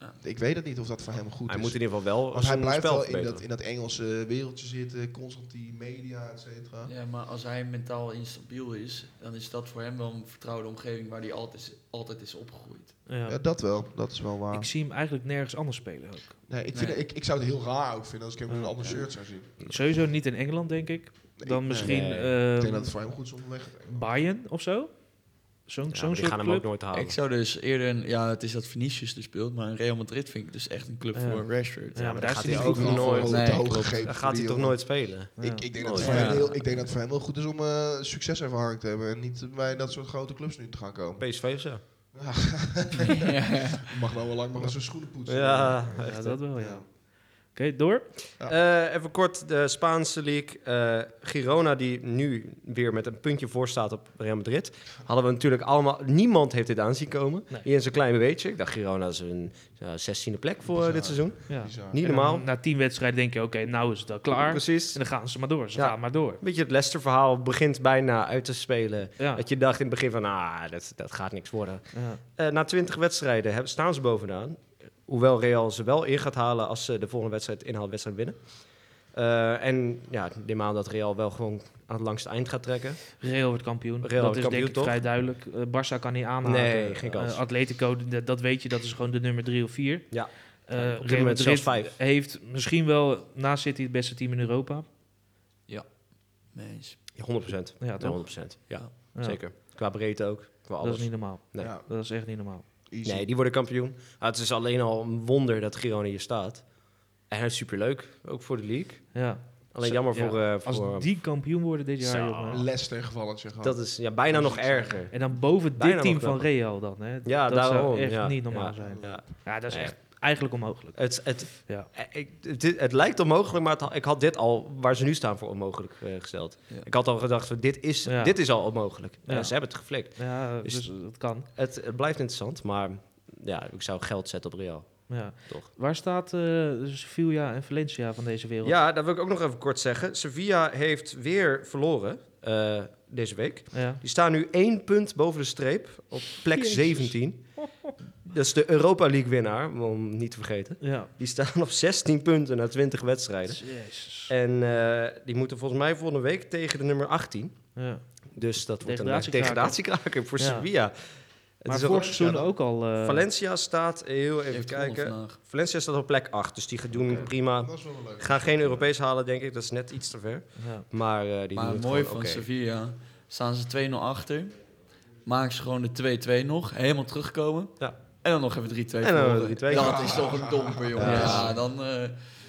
D: Ja.
B: ik weet het niet of dat voor hem goed
A: dus-
C: Hij
B: is.
C: moet in ieder geval wel
B: Want hij
C: zijn
B: blijft
C: spel
B: wel in
C: verbeteren.
B: dat, in dat Engelse wereldje zitten, constant die media, et cetera.
D: Ja, maar als hij mentaal instabiel is, dan is dat voor hem wel een vertrouwde omgeving waar hij altijd is, altijd is opgegroeid.
A: Ja.
B: Ja, dat wel, dat is wel waar.
A: Ik
B: Ik,
A: zie hem eigenlijk nergens anders spelen ook.
B: nee, ik, vind,
D: Nee.
B: Ik, ik zou het heel raar ook vinden als ik hem in een ander shirt zou zien.
A: Sowieso niet in Engeland, denk ik.
B: Nee,
A: Dan
B: ik-
A: misschien
C: Nee.
A: ehm,
B: Ik denk dat het voor hem goed is om weg te
A: Bayern of zo. Zo'n
C: Ja,
A: zo'n
C: maar die
A: soort
C: gaan hem ook
A: club.
C: nooit halen.
D: Ik zou dus eerder, een- ja, het is dat Vinicius er speelt, maar een Real Madrid vind ik dus echt een club
A: Ja.
D: voor Rashford.
A: Ja, maar daar
C: gaat
A: zit
C: hij
A: hij
C: ook
B: niet voor.
C: nooit.
D: Nee,
C: Nee,
B: klopt.
C: klopt.
B: Gegeven
C: Dan
B: voor
C: gaat
B: die
C: hij toch
B: jongen.
C: nooit spelen.
A: Ja.
B: Ik, ik, denk dat
C: Nooit.
B: het voor hem
D: Ja.
B: heel, ik denk dat het voor hem wel goed is om eh succes even hard te hebben. En niet bij dat soort grote clubs nu te gaan komen.
C: PSV of zo.
B: Ja,
D: Ja.
B: mag nou wel lang maar eens zijn schoenen poetsen.
C: Ja, echt,
A: Ja,
C: hè.
A: dat wel, ja.
B: Ja.
A: Oké, door.
C: Eh, even kort, de Spaanse league. eh, Girona, die nu weer met een puntje voor staat op Real Madrid. Hadden we natuurlijk allemaal... Niemand heeft dit aanzien komen.
A: Nee.
C: Hier is een klein beetje. Ik dacht, Girona is een eh, zestiende plek voor eh,
B: Bizar.
C: dit seizoen.
A: Ja.
B: Bizar.
C: Niet
A: En dan
C: normaal.
A: Na tien wedstrijden denk je, oké, nou is het al klaar. En
C: Precies.
A: dan gaan ze maar door. Ze
C: Ja.
A: gaan maar door.
C: Weet je, het Leicester-verhaal begint bijna uit te spelen.
A: Ja.
C: Dat je dacht in het begin van, ah, dat, dat gaat niks worden.
A: Ja.
C: Eh, na 20 wedstrijden hebben, staan ze bovenaan. Hoewel Real ze wel in gaat halen als ze de volgende wedstrijd inhaalwedstrijd winnen. Eh, en ja, ik neem aan dat Real wel gewoon aan het langste eind gaat
A: Eh,
C: trekken.
A: Real wordt kampioen.
C: Real
A: dat
C: wordt
A: is
C: kampioen,
A: denk ik
C: toch?
A: vrij duidelijk. Eh, Barça kan niet aanhouden.
C: Nee, geen kans.
A: Eh, Atletico, dat, dat weet je, dat is gewoon de nummer drie of vier.
C: Ja.
A: Eh,
C: Op dit
A: Real
C: moment zelfs
A: Madrid
C: vijf.
A: heeft misschien wel na City het beste team in Europa.
D: Mee eens.
C: Ja, 100%.
A: Ja,
C: Ja,
A: toch?
C: 100%. Ja,
A: Ja.
C: zeker. Qua breedte ook. Qua
A: Dat
C: alles.
A: is niet normaal.
C: Nee.
B: Ja,
A: Dat is echt niet normaal.
B: easy.
C: Nee, die worden kampioen. Ah, het is alleen al een wonder dat Girona hier staat. En hij is superleuk, ook voor de league.
A: Ja.
C: Alleen
A: Zo,
C: jammer
A: ja,
C: voor... eh, voor
A: Als die kampioen worden dit jaar,
C: Zo.
A: jongen.
B: Leicester gevalletje gewoon.
C: dat is ja, bijna nog erger.
A: En dan boven dit
C: Bijna
A: team
C: wel
A: van
C: knapper.
A: Real dan. Hè.
C: Ja,
A: dat
C: daarom,
A: zou echt
C: ja.
A: niet normaal
C: Ja.
A: zijn.
C: Ja.
A: Ja, dat is
C: Nee.
A: echt eigenlijk onmogelijk.
C: Het, het,
A: Ja.
C: eh, ik, het, dit- het lijkt onmogelijk, maar het ha- ik had dit al, waar ze nu staan, voor onmogelijk eh, gesteld.
D: Ja.
C: Ik had al gedacht, van, dit is,
A: Ja.
C: dit is al onmogelijk.
A: Ja.
C: Eh, ze hebben het geflikt.
A: Ja,
C: Is-
A: dus dat kan.
C: Het, het blijft interessant, maar ja, ik zou geld zetten op Real.
A: Ja.
C: Toch.
A: Waar staat eh, Sevilla en Valencia van deze wereld?
C: Ja, dat wil ik ook nog even kort zeggen. Sevilla heeft weer verloren. eh, deze week.
A: Ja.
C: Die staan nu één punt boven de streep op plek
A: Jezus.
C: 17. Dat is de Europa League winnaar, om niet te vergeten.
A: ja.
C: Die staan op 16 punten na 20 wedstrijden.
A: Jezus.
C: En eh, die moeten volgens mij volgende week tegen de nummer 18.
A: Ja.
C: Dus dat wordt een eh,
A: Degradatiekraker.
C: degradatiekraker voor
A: Ja.
C: Sevilla. Het
A: Maar
C: is al-
A: vorig seizoen
B: ja, dat-
A: ook al... eh,
C: Valencia staat, heel even kijken. Valencia staat op plek 8, dus die gaan doen
A: Oké.
C: prima.
B: Dat is wel leuk.
C: Gaan geen Europees halen, denk ik. Dat is net iets te ver.
A: Ja.
C: Maar eh, die doen
D: Maar
C: het
D: mooi van
C: gewoon oké.
D: Sevilla. Staan ze 2-0 achter. Maken ze gewoon de 2-2 nog. Helemaal terugkomen.
C: Ja.
D: En dan nog even 3-2
C: En dan
D: verloren.
C: 3-2.
D: Dat is toch een domper, jongen.
C: Ja.
D: Ja, dan... eh,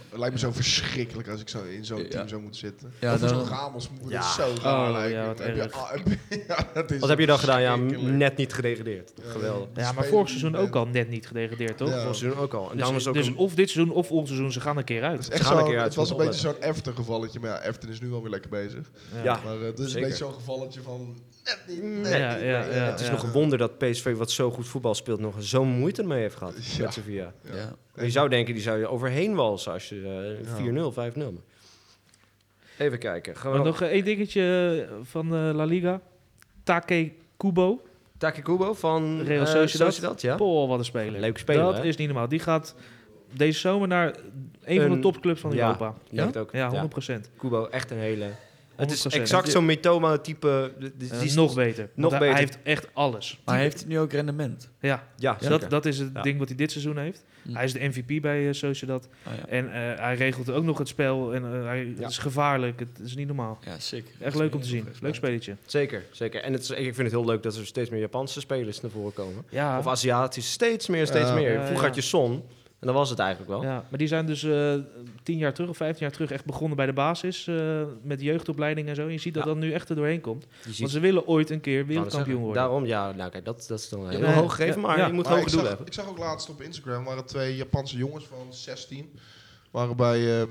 B: Het lijkt me zo verschrikkelijk als ik zo in zo'n
D: Ja.
B: team zou moeten zitten.
D: Ja,
B: Ja, dan...
D: dan-
B: Zo'n Ramos moet me
C: Ja.
B: dat zo
A: Oh,
B: raar
A: ja,
B: lijken.
A: wat
B: Dan heb je-
A: erg.
B: ah, heb je- ja, dat is
C: Wat heb je dan gedaan? Ja,
B: verschrikkelijk.
C: net niet gedegradeerd.
B: Ja.
C: Geweldig.
A: ja, maar
B: Spelen
A: vorig seizoen
B: niet
A: ook al net niet gedegradeerd, toch?
B: Ja.
C: Vorig seizoen ook al. En daarom
A: Dus,
C: is ook
A: dus
C: een-
A: of dit seizoen of volgend seizoen, ze gaan een keer
B: Het,
A: uit.
B: is echt
C: Gaan een
B: zo,
C: keer uit,
B: het was een
C: moet
B: beetje zo'n Efton gevalletje. Maar ja, Efton is nu alweer lekker bezig.
C: Ja.
B: Maar eh, het is
C: Ah, Zeker.
B: een beetje zo'n gevalletje van... Net niet, net
A: Mm. Ja,
B: niet,
A: ja,
B: net
A: ja,
B: niet.
A: ja.
C: Het is nog een wonder dat PSV, wat zo goed voetbal speelt, nog zo'n moeite ermee heeft gehad
B: Ja.
C: met Sevilla.
D: ja.
B: Ja.
C: Je zou denken, die zou je overheen walsen als je eh,
B: Ja.
C: 4-0, 5-0. Even kijken. Gaan we
A: Maar
C: nog...
A: nog eh, één dingetje eh, van eh, La Liga. Take Kubo.
C: Taki Kubo van
A: Real
C: eh,
A: Sociedad.
C: ja?
A: Paul, wat een speler.
C: Leuke speler,
A: Dat
C: hè?
A: is niet normaal. Die gaat deze zomer naar een van
C: Een-
A: de topclubs van
C: ja,
A: Europa.
C: denk het ook.
A: Ja,
C: Ja.
A: 100%. procent.
C: Kubo, echt een hele... Het is
A: 100%.
C: exact zo'n Mitoma-type... d- d-
A: Eh,
C: Dus die is-
A: nog beter.
C: nog
A: Nog beter. Hij
C: beter.
A: heeft echt alles.
D: Maar heeft het nu ook rendement?
A: Ja,
C: Ja,
A: dus
C: zeker.
A: dat, dat is het
C: Ja.
A: ding wat hij dit seizoen heeft.
C: Mm.
D: Hm.
A: Hij is de MVP bij eh, Sociedad.
D: Oh, ja.
A: En eh, hij regelt ook nog het spel. En eh, hij
C: Ja.
A: het is gevaarlijk. Het is niet normaal.
D: ja, sick.
A: Echt leuk om te zien. Leuk spelletje.
C: Zeker, zeker. En het is, ik vind het heel leuk dat er steeds meer Japanse spelers naar voren komen.
A: Ja.
C: Of Aziatisch, steeds meer, steeds
B: Ja.
C: meer.
A: Ja,
C: Vroeger
A: ja.
C: had je Son, en dan was het eigenlijk wel.
A: Ja, maar die zijn dus eh, tien jaar terug of vijftien jaar terug echt begonnen bij de basis. eh, met jeugdopleiding en zo. En je ziet dat
C: Ja.
A: dat nu echt er doorheen komt.
C: Je ziet-
A: Want ze willen ooit een keer
C: Nou, dat
A: wereldkampioen
C: zeg ik.
A: worden.
C: Daarom, ja, nou kijk, dat, dat is dan heel
A: nee,
C: hoog gegeven,
A: ja,
C: maar
A: ja.
C: je moet
B: Maar
C: hoge
B: ik,
C: doelen
B: zag,
C: hebben.
B: ik zag ook laatst op Instagram waren twee Japanse jongens van 16 waren bij, eh,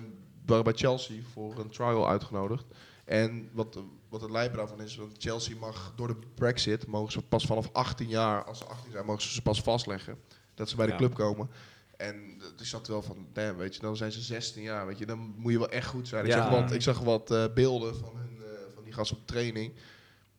B: waren bij Chelsea voor een trial uitgenodigd. En wat, wat het lijpe daarvan is, want Chelsea mag door de Brexit mogen ze pas vanaf 18 jaar, als ze 18 zijn, mogen ze ze pas vastleggen dat ze bij de
C: Ja.
B: club komen. En eh, ik zat wel van, damn, weet je, dan zijn ze 16 jaar, weet je, dan moet je wel echt goed zijn. Ik
C: Ja.
B: zag wat, ik zag wat eh, beelden van, hun, eh, van die gasten op training.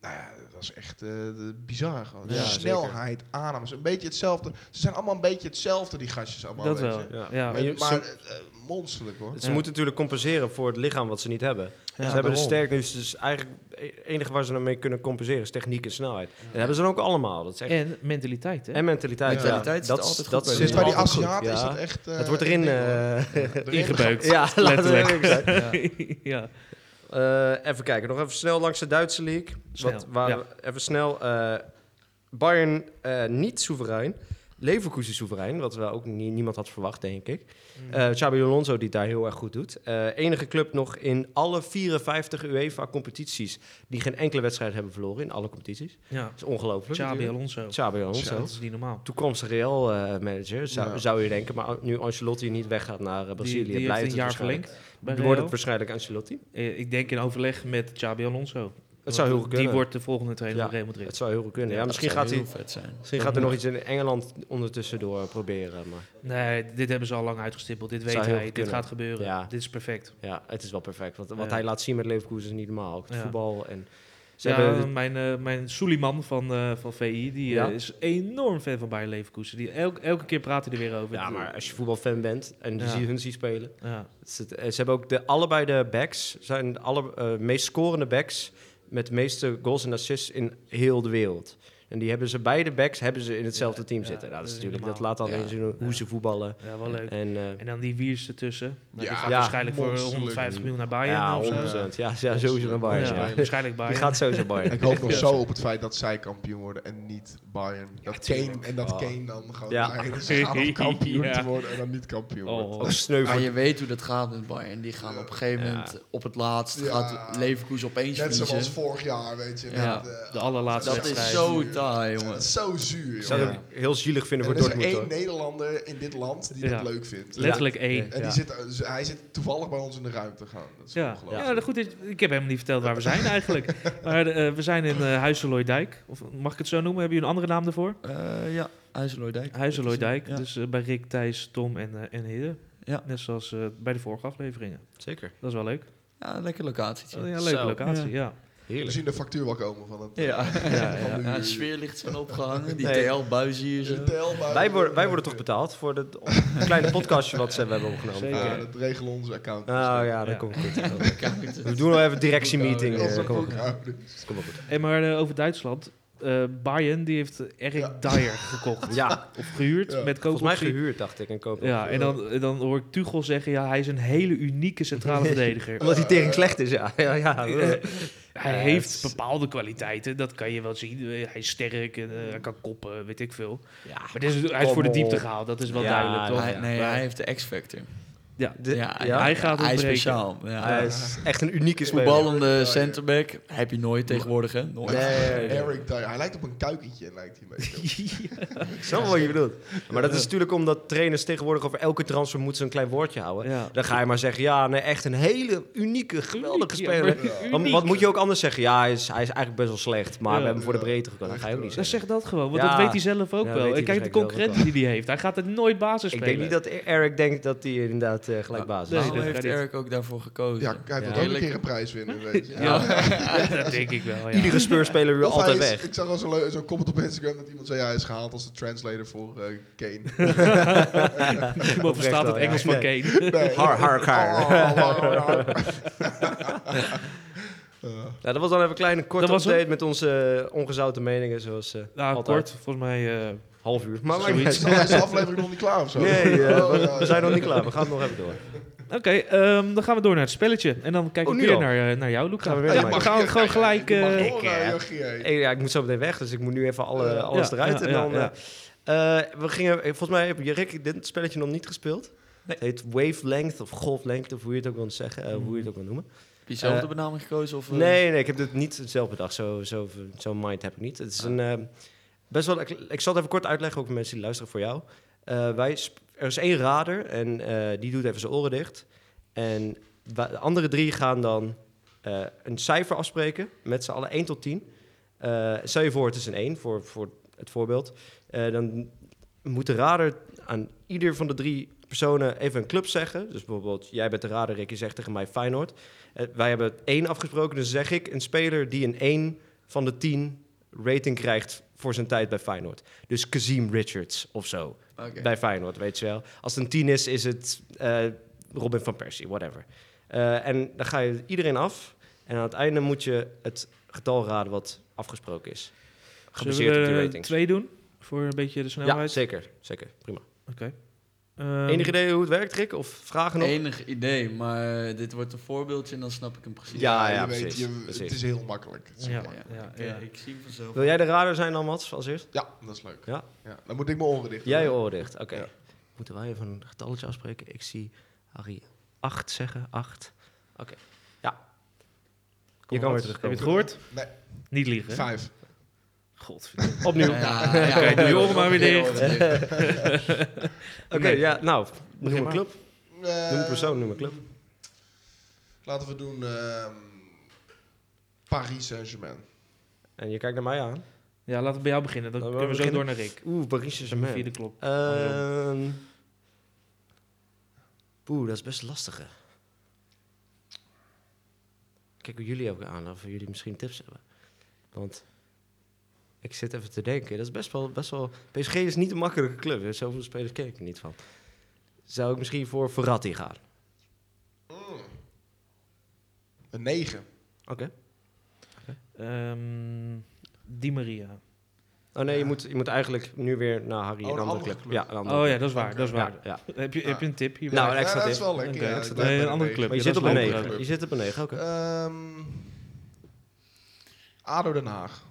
B: Nou ja, dat was echt eh, de- bizar. Gewoon.
C: Ja,
B: Snelheid, aannames, een beetje hetzelfde. Ze zijn allemaal een beetje hetzelfde, die gastjes allemaal.
A: Dat
B: weet
A: wel.
B: je.
A: Ja.
C: Ja.
A: Ja.
B: Maar,
C: je-
B: maar
C: ze-
B: eh, eh, monsterlijk hoor.
C: Ze
A: Ja.
C: moeten natuurlijk compenseren voor het lichaam wat ze niet hebben. ze hebben
B: daarom.
C: dus sterk nu, dus eigenlijk het enige waar ze mee kunnen compenseren is techniek en snelheid. En dat hebben ze dan ook allemaal. Dat is echt, en,
A: En mentaliteit, hè?
C: mentaliteit. Ja.
D: Mentaliteit
C: dat is-
D: zit altijd
C: dat
D: goed bij
C: is
B: Sinds bij die
C: altijd goed,
B: Aziaten is
C: ja.
B: dat echt... eh,
C: Het wordt
B: een
C: erin
B: ding, hoor.
C: eh,
B: Erin
A: Ingebeukt.
C: Ja, laten we
A: Letterlijk.
C: eerlijk zijn.
A: ja.
C: Eh, even kijken, nog even snel langs de Duitse league.
A: Snel,
C: Wat, waar,
A: ja.
C: Even snel. eh, Bayern eh, niet soeverein. Leverkusen soeverein, wat we ook nie- niemand had verwacht, denk ik.
A: Mm.
C: Eh Xabi Alonso die het daar heel erg goed doet. Eh, enige club nog in alle 54 UEFA-competities die geen enkele wedstrijd hebben verloren in alle competities.
A: ja.
C: Dat is ongelooflijk.
A: Xabi
C: natuurlijk.
A: Alonso.
C: Xabi
A: Ja,
C: Alonso.
A: Dat is niet normaal.
C: Toekomstige Real-manager, zou,
B: Ja.
C: zou je denken. Maar nu Ancelotti niet weggaat naar eh, Brazilië,
A: Die, die heeft
C: blijft
A: een
C: het
A: jaar
C: waarschijnlijk.
A: verlengd bij
C: Wordt het
A: Real.
C: waarschijnlijk Ancelotti?
A: Eh, Ik denk in overleg met Xabi Alonso.
C: Het zou heel goed
A: Want
C: kunnen.
A: Die wordt de volgende trainer
C: Ja.
A: van Real Madrid.
C: Het zou heel goed kunnen. Ja, misschien
D: Dat
C: gaat
D: zou
C: hij...
D: heel vet zijn.
C: Misschien gaat er nog iets in Engeland ondertussen door proberen. Maar
A: Nee, dit hebben ze al lang uitgestippeld. Dit
C: Zou
A: weet
C: heel
A: hij.
C: goed
A: Dit
C: kunnen.
A: gaat gebeuren.
C: Ja.
A: Dit is perfect.
C: ja, het is wel perfect. Want wat
A: Ja.
C: hij laat zien met Leverkusen is niet normaal. Ook het
A: Ja.
C: voetbal en... Ze
A: ja,
C: hebben
A: mijn, eh mijn Suliman van, eh, van VI, die eh,
C: Ja.
A: is enorm fan van Bayer Leverkusen. Die, elk- elke keer praat hij er weer over.
C: Ja, maar als je voetbalfan bent en je
A: Ja.
C: ziet hun zien spelen.
A: Ja.
C: het is het- eh, ze hebben ook de, allebei de backs, zijn de alle, eh, meest scorende backs met de meeste goals en assists in heel de wereld. En die hebben ze, beide backs hebben ze in hetzelfde
A: Ja,
C: team
A: ja,
C: zitten. Nou,
A: dat
C: dat,
A: is
C: is natuurlijk, dat
A: normaal.
C: laat al
D: Ja.
C: eens zien hoe
A: Ja.
C: ze voetballen.
A: ja, wel leuk.
C: En, eh,
A: En dan die Wiers ertussen. Nou,
B: Ja,
A: die gaat
C: ja,
A: waarschijnlijk voor
B: monsterlijk.
A: 150 miljoen naar Bayern.
C: ja,
A: of zo.
C: 100%. Ja, ja, sowieso naar
A: Ja,
B: Ja.
C: Bayern. ja.
A: waarschijnlijk
C: Die
A: Bayern.
C: gaat sowieso Bayern.
B: Ik hoop nog zo op het feit dat zij kampioen worden en niet Bayern. dat Kane, en dat
C: Oh.
B: Kane dan gewoon
C: Ja.
B: daarheen is gegaan om kampioen
A: Ja.
B: te worden en dan niet kampioen wordt.
A: Oh.
C: Ook sneu
D: Maar
C: voor
D: je weet hoe dat gaat met Bayern. Die gaan op een gegeven
C: Ja.
D: moment, op het laatst,
B: Ja.
D: gaat Leverkusen opeens
B: Net zoals
D: verliezen.
B: vorig jaar, weet je.
D: Ja.
B: met, eh,
A: De allerlaatste
D: Dat is
A: wedstrijd.
D: zo taai,
B: dat
D: jongen.
B: is zo zuur,
C: Ik zou
B: joh.
C: het ook heel zielig vinden
B: En
C: voor
B: er is er één
C: Dortmund. hoor.
B: Nederlander in dit land die
A: Ja.
B: dat leuk vindt.
A: Letterlijk één.
B: En
C: Ja.
B: die zit, dus hij zit toevallig bij ons in de ruimte gaan. Dat is
A: Ja,
B: ongelooflijk.
A: ja dat goed is, ik heb helemaal niet verteld waar we zijn eigenlijk. Maar eh, we zijn in eh Huizeloidijk. Of mag ik het zo noemen? Hebben jullie een andere naam daarvoor?
D: Eh, ja, Huizeloordijk.
A: Huizeloidijk.
D: Ja.
A: Dus eh, bij Rick, Thijs, Tom en, eh, en Hidde.
D: Ja.
A: Net zoals eh, bij de vorige afleveringen.
C: Zeker.
A: Dat is wel leuk. Oh,
D: Ja, lekker locatietje.
A: ja, leuke
C: Zo.
A: locatie, ja.
B: We
C: Heerlijk.
B: zien de factuur wel komen van het. eh,
D: Ja,
A: ja.
B: van de- Dus
D: ja, sfeerlicht zijn opgehangen, die
C: Nee.
D: TL-buizen hier
B: de
D: zo.
B: telbuis.
C: Wij worden, wij worden toch betaald voor het kleine podcastje wat ze hebben opgenomen.
A: Zeker.
B: Ja, dat regelen onze Dus account.
C: Oh ja, dat
A: Ja.
C: komt goed. We doen wel even directiemeeting.
B: Onze
C: eh, Kom op.
B: boekhouder.
C: Kom op. goed.
A: En maar eh, over Duitsland. eh Bayern die heeft Eric
B: Ja.
A: Dyer gekocht.
C: Ja,
A: Of gehuurd.
B: Ja.
A: Met
C: volgens mij
A: koopoptie.
C: gehuurd, dacht ik. En koop.
A: Ja, en dan, en dan hoor ik Tuchel zeggen, ja, hij is een hele unieke centrale verdediger.
C: Omdat die tering slecht is, ja. ja, ja.
A: Eh, hij
C: Ja,
A: heeft
C: het is-
A: bepaalde kwaliteiten, dat kan je wel zien. Eh, Hij is sterk, en, eh, hij kan koppen, weet ik veel.
C: Ja.
A: Maar dit is, hij is voor de
C: Kom op.
A: diepte gehaald, dat is wel
C: Ja,
A: duidelijk, toch?
D: Hij, nee,
C: Ja.
D: hij heeft de X-Factor.
C: De-
D: ja,
C: ja.
A: Hij gaat
D: hij is
A: ontbreken.
D: speciaal. Ja.
C: Hij is echt een unieke speler.
D: Voetballende centerback heb je nooit tegenwoordig, hè? Nooit.
C: Nee.
B: Eric Dyer. Hij lijkt op een kuikentje, lijkt hij een beetje.
C: Ik snap wel wat je bedoelt. Maar dat is natuurlijk omdat trainers tegenwoordig over elke transfer moeten ze een klein woordje houden.
A: Ja.
C: Dan ga je maar zeggen, ja, nee, echt een hele unieke, geweldige
A: Uniek, ja,
C: speler.
A: maar
B: Ja.
C: Dan,
A: uniek.
C: wat moet je ook anders zeggen? Ja, hij is, hij is eigenlijk best wel slecht, maar
A: Ja.
C: we hebben voor de
B: Ja.
C: breedte gekozen. Dat ga je ook niet
A: Dan
C: zeggen.
A: zeg dat gewoon, want
C: Ja.
A: dat weet hij zelf ook
C: Ja, weet
A: wel.
C: hij
A: En kijk de
C: waarschijnlijk wel, dat
A: concurrentie die hij heeft. Hij gaat het nooit basis
C: Ik
A: spelen.
C: denk niet dat Eric denkt dat hij inderdaad eh, gelijk basis is.
A: Nee,
D: Waarom
A: dat
D: heeft
A: kan niet.
D: Eric ook daarvoor gekozen?
B: Ja, hij wil
C: Ja.
B: ook een keer een prijs winnen. Weet je.
A: Ja. dat denk ik wel, ja.
C: Iedere speurspeler wil
B: Of hij
C: altijd
B: is-
C: weg.
B: Ik zag al zo'n leu- zo'n comment op Instagram dat iemand zei... Ja, hij is gehaald als de translator voor eh, Kane.
A: Niemand verstaat
C: wel,
A: het Engels
C: ja.
A: van
C: Nee.
A: Kane.
B: Nee.
C: Har, har, har.
B: Oh, har, har. Eh,
C: Nou, dat was dan even een kleine korte
A: Dat was hem.
C: update met onze eh, ongezouten meningen, zoals eh,
A: Nou,
C: altijd.
A: kort, volgens mij... eh,
C: half uur. Maar maakt niet
B: Zoiets.
C: uit.
B: Dan is de aflevering nog niet klaar of zo.
C: Nee, eh,
B: Oh,
C: we-
B: ja,
C: we
B: ja.
C: zijn nog niet klaar. We gaan het nog even door.
A: Oké, ehm, dan gaan we door naar het spelletje. En dan kijk
C: Oh,
A: ik
C: nu
A: weer
C: al?
A: naar, eh, naar jou, Luca.
C: Gaan we weer
A: ja,
C: naar
A: we
B: Mike.
A: gaan gewoon gelijk...
B: Je mag
A: eh,
B: gewoon,
C: ik,
B: eh,
C: eh,
B: reageren.
C: Hey, ja, ik moet zo meteen weg, dus ik moet nu even alle, alles
A: ja,
C: eruit.
A: ja,
C: en
A: ja,
C: dan, eh,
A: ja.
C: eh, we gingen, eh, volgens mij heb je Rick dit spelletje nog niet gespeeld. Het heet wavelength of golflength, of hoe je het ook wilt zeggen, eh,
A: Mhm.
C: hoe je het ook wilt noemen.
D: Heb je zelf
C: Eh,
D: de benaming gekozen? Of, eh,
C: Nee, nee, ik heb dit niet zelf bedacht. Zo, zo, zo'n mind heb ik niet.
D: Ah.
C: Het is een eh, best wel. Ik, ik zal het even kort uitleggen ook voor mensen die luisteren voor jou. Eh, wij, sp- er is één rader en eh, die doet even zijn oren dicht. En wa- de andere drie gaan dan eh, een cijfer afspreken met z'n allen 1 tot 10. Eh, stel je voor, het is een 1 voor, voor het voorbeeld. Eh, dan moet de rader aan ieder van de drie personen even een club zeggen. Dus bijvoorbeeld, jij bent de rader, Rick, je zegt tegen mij Feyenoord. Eh, wij hebben één afgesproken, dus zeg ik een speler die een 1 van de 10 rating krijgt voor zijn tijd bij Feyenoord. Dus Kazim Richards of zo
D: Oké.
C: bij Feyenoord, weet je wel. Als het een 10 is, is het eh, Robin van Persie, whatever. Eh, en dan ga je iedereen af en aan het einde moet je het getal raden wat afgesproken is. Gebaseerd op
A: Zullen
C: die
A: we er
C: ratings.
A: twee doen? Voor een beetje de
C: Ja,
A: snelheid.
C: zeker. Zeker, prima.
A: Ehm,
C: Enig idee hoe het werkt, Rick? Of vragen nog?
D: Enig idee, maar eh, dit wordt een voorbeeldje en dan snap ik hem precies.
C: Ja,
B: je
C: ja,
B: weet,
C: precies,
B: je-
C: precies.
B: Het is heel makkelijk. Het is heel
A: Ja.
B: makkelijk.
D: oké,
A: ja.
D: Ik zie hem vanzelf.
C: Wil jij de rader zijn dan, Mats, als eerst?
B: Ja, dat is leuk.
C: Ja.
B: Dan moet ik mijn oren dicht doen.
C: Jij je oren dicht, oké.
B: Ja.
C: Moeten wij even een getalletje afspreken? Ik zie Harry 8 zeggen, 8. Oké, ja. je kan weer
A: Mats, Heb je
C: terugkomen.
A: het gehoord?
B: Nee.
A: Niet liegen, hè?
B: Vijf.
A: Godverdomme.
C: Opnieuw.
D: Ja,
C: Oké,
D: ja,
A: Oké,
D: ja,
A: doe je
D: ja,
A: ogen maar weer
D: ja,
A: dicht.
D: ja, ja.
A: Nee.
C: ja, nou, noem een
A: maar.
C: club. Noem een
B: Eh,
C: persoon, noem een club.
B: Laten we doen ehm, Paris Saint-Germain.
C: En je kijkt naar mij aan.
A: Ja, laten we bij jou beginnen. Dan
C: Laten we
A: kunnen we zo door
C: beginnen.
A: naar Rick.
C: Oeh, Paris Saint-Germain.
A: Vierde klop.
C: Ehm Oeh, dat is best lastig, hè. Kijk hoe jullie ook aan, of jullie misschien tips hebben. Want ik zit even te denken, dat is best wel... Best wel PSG is niet een makkelijke club, hè. zoveel spelers ken ik er niet van. Zou ik misschien voor Verratti gaan?
B: Mm. Een negen.
C: Oké.
A: Ehm, Di Maria.
C: Oh nee, je, moet, je moet eigenlijk nu weer naar Harry,
B: Oh,
C: een
B: een
C: andere
B: andere
C: club.
B: club.
C: Ja, een andere
A: Oh ja,
C: club.
A: dat is waar.
B: Oké.
A: Dat is waar.
C: Ja, ja.
A: Heb, je, heb je een tip hierbij?
C: Nou,
B: Ja,
C: extra
B: dat
C: tip.
B: is wel lekker.
A: Oké,
B: ja.
A: extra
B: Ik blijf
A: tip.
B: bij
A: Een andere
B: negen.
A: club.
C: Maar je
A: dat
C: zit
A: is
C: op een
A: leuk.
C: 9. Je zit op een 9, oké.
B: Ehm, ADO Den Haag.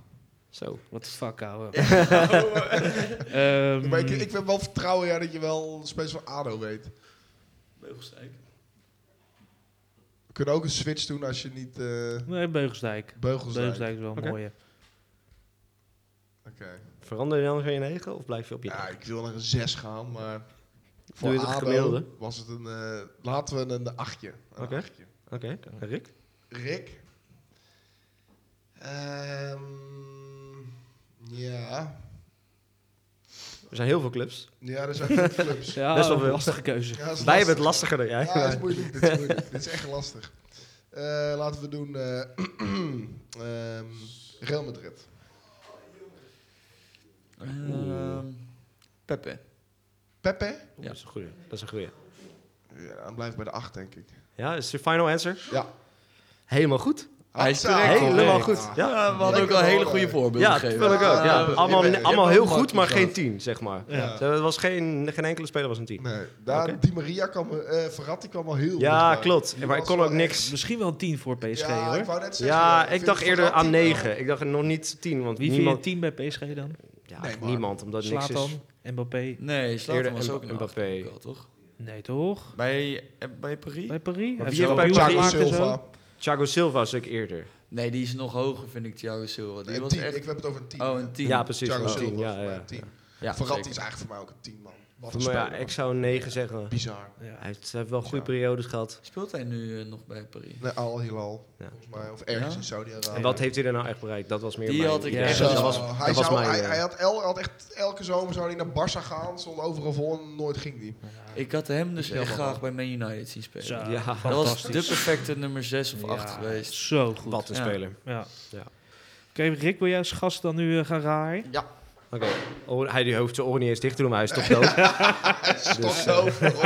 C: Zo.
A: What the fuck, ouwe.
B: Maar ik,
A: Ehm,
B: ik heb wel vertrouwen ja, dat je wel spelers van ADO weet.
D: Beugelsdijk.
B: We kunnen ook een switch doen als je niet eh
A: Nee, Beugelsdijk.
B: beugels zijn.
A: Beugelsdijk is wel een
C: Oké.
A: mooie.
B: Oké.
C: Verander je dan weer je 9 of blijf je op je
B: Ja,
C: 9?
B: ik wil naar een 6 gaan, maar voor
C: Doe je het
B: ADO
C: gemiddelde?
B: was het een... eh, laten we een achtje. Een
C: Oké.
B: achtje.
C: Oké, Rick?
B: Rick? Ehm, ja.
C: Er zijn heel veel clubs.
B: Ja, er zijn veel clubs.
A: Ja,
C: Best wel
A: een
C: veel.
A: lastige keuze.
B: Ja, dat is
C: Wij hebben het
B: lastig.
C: lastiger dan jij.
B: Ja, dat is moeilijk. Dit is, moeilijk. Dit is echt lastig. Eh, laten we doen eh, ehm, Real Madrid.
D: Ehm, Pepe.
B: Pepe?
D: Ja.
C: Dat is een goeie. Dat is een goeie.
B: Ja, dan blijft bij de 8, denk ik.
C: Ja, is je final answer?
B: Ja.
C: Helemaal goed.
D: Hij is
B: Hatsa.
D: correct, hoor.
C: Helemaal
D: Nee.
C: goed. Ja,
D: Ja, we hadden ook
B: Lekker
D: al hele
B: hoor.
D: goede voorbeelden
C: ja dat
D: gegeven. Eh,
C: vul ik ook. Ja.
B: Ja,
C: Allemaal,
B: je bent-
C: allemaal
D: je
C: heel
D: bent
C: goed, maar geen
D: makkelijk
C: tien, zeg maar.
A: Ja.
C: Er was geen, geen enkele speler was een tien.
B: Nee, daar,
C: Oké.
B: Di Maria kwam, eh Verratti kwam al heel
C: Ja,
B: goed bij.
C: klopt.
B: Die
C: Maar ik
B: was
C: kon
B: wel
C: ook
B: echt-
C: niks.
A: Misschien wel een 10 voor PSG
B: Ja, ik
A: hoor.
B: wou net zeggen.
C: Ja,
B: vind
C: ik dacht eerder
B: Verratti
C: aan
B: wel- eh,
C: negen. Ik dacht nog niet tien, want
A: Wie vind je
C: niemand...
A: 10 bij PSG dan?
C: Ja,
B: Nee, maar-
C: niemand, omdat niks
A: Slatan,
C: is.
A: Mbappé.
D: Nee,
C: Eerder
D: Slatan was
C: Mb-
D: ook een
C: Mbappé.
D: acht, wel, toch?
A: Nee toch?
D: Bij, eh, bij Paris?
A: Bij Paris?
C: Maar
A: Heeft
C: wie
A: ze
C: heeft bij
A: kampioen
B: Thiago
C: Paris-
A: gemaakt en zo?
D: Oh,
B: Silva.
C: Thiago Silva was ik eerder.
D: Nee, die is nog hoger, vind ik, Thiago Silva. Die
B: Een
D: was
B: Eh, tien,
D: echt...
B: Ik heb het over een 10.
D: Oh, een 10.
C: Ja, precies.
B: Thiago
C: was een
B: Silva
C: tien,
B: was
C: Ja,
B: voor mij
C: ja.
B: een 10.
D: ja
B: Verratti
D: zeker.
B: is eigenlijk voor mij ook een 10 man. Wat een
C: Maar ja,
B: speler.
C: ik zou een negen zeggen.
B: Bizar.
A: Ja.
C: Hij heeft, hij heeft wel goede
B: Ja.
C: periodes gehad.
D: Speelt hij nu eh, nog bij Paris?
B: Nee, Al Hilal,
C: Ja.
B: volgens mij. Of ergens
D: Ja?
B: in Saudi-Arabië.
C: En wat heeft hij er nou echt bereikt? Dat was meer
D: Die
C: mijn-
D: had ik
C: Ja,
D: echt-
B: Zo,
C: dat was,
B: hij,
C: dat was
B: zou,
C: mijn...
B: hij,
C: eh,
B: hij had, el, had echt elke zomer zou hij naar Barça gaan, stond overal vol en nooit ging die.
A: nou
D: Ik had hem dus
B: Ja,
D: echt
B: man.
D: graag bij Man United zien spelen.
A: Zo,
C: Ja.
A: fantastisch.
D: Dat was de perfecte nummer 6 of 8
A: Ja,
D: geweest.
A: Zo goed.
C: Wat een
D: Ja.
C: speler.
A: Ja.
C: Ja.
A: Oké, Rick, wil jij als gast dan nu eh, gaan raaien?
C: Oké, Oh, hij die hoeft zijn oren niet eens dicht te doen, maar hij is toch dood. Dus,
B: Stond
C: eh,
B: overal.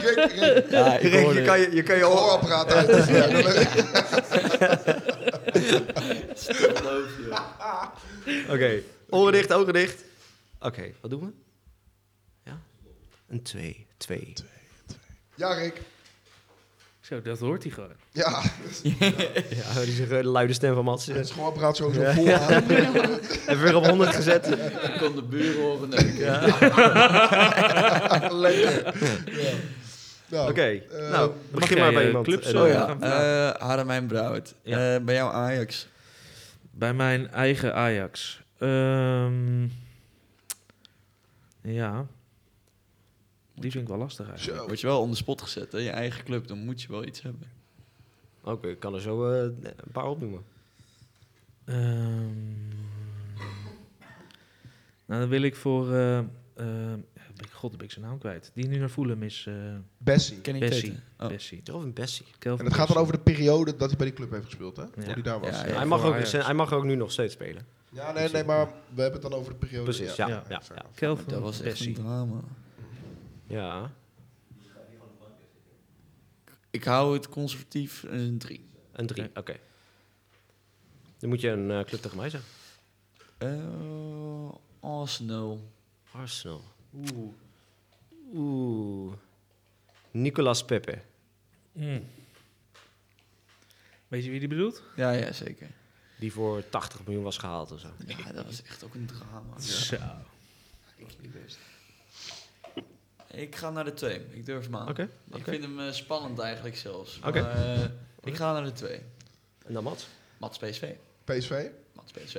B: Rick, Rick,
D: Ja, ik hoorde-
C: je, je kan
B: je hoorapparaat uit.
C: Oké, oren dicht, ogen dicht. Oké, wat doen we? Ja? Een 2, 2.
B: Ja, Rick.
A: Zo, dat hoort hij gewoon.
B: Ja,
C: Ja, die is een eh, luide stem van Mats.
B: het is gewoon apparaat sowieso vol aan.
C: Even weer op 100 gezet.
D: Ik kon de buren horen denken. Ja.
B: Lekker. Ja. Nou,
C: Oké,
B: eh,
C: nou,
A: mag
C: begin
A: jij,
C: maar bij
A: eh,
C: iemand.
A: clubs,
C: Eh,
A: eh,
D: Oh
A: gaan
D: ja,
A: we
D: Eh Hadamijn Brouwert.
A: Ja.
D: Eh, bij jou Ajax.
A: Bij mijn eigen Ajax. Ehm, ja. Die vind ik wel lastig eigenlijk.
B: Zo.
D: Word je wel on the spot gezet, hè? Je eigen club, dan moet je wel iets hebben.
C: Oké, ik kan er zo eh, een paar opnoemen.
A: Ehm, nou, dan wil ik voor... eh, eh, ben ik- God, heb ik zijn naam kwijt. Die nu naar Fulham is, eh
B: Bessie.
D: Ken ik
A: Bessie.
D: Tete? Oh.
A: Bessie.
C: Toch een Bessie.
B: En het gaat dan over de periode dat hij bij die club heeft gespeeld, hè? Hoe die daar was.
D: Ja,
B: Ja,
D: ja.
C: hij, mag
A: voor
C: ook,
A: Ajax.
C: hij mag ook nu nog steeds spelen.
B: nee, nee, maar we hebben het dan over de periode.
C: Precies, ja, ja,
B: fair
C: ja.
B: enough.
A: Kelvin
D: Dat was echt een
A: Bessie.
D: drama.
C: Ja,
D: Ik hou het conservatief een 3.
C: een 3, oké. Dan moet je een eh, club tegen mij zeggen.
D: Eh Arsenal.
C: Arsenal. Oeh. Oeh. Nicolas Pepe.
A: Mm. Weet je wie die bedoelt?
D: Ja, ja, zeker.
C: Die voor 80 miljoen was gehaald of zo.
D: Ja, dat was echt ook een drama.
A: Zo.
D: Ik ga naar de 2. Ik durf hem aan.
C: Oké,
D: Ik
C: oké.
D: vind hem eh, spannend eigenlijk zelfs.
C: Oké.
D: Maar, eh, ik ga naar de 2.
C: En dan Mats?
D: Mats PSV.
B: PSV?
D: Mats PSV.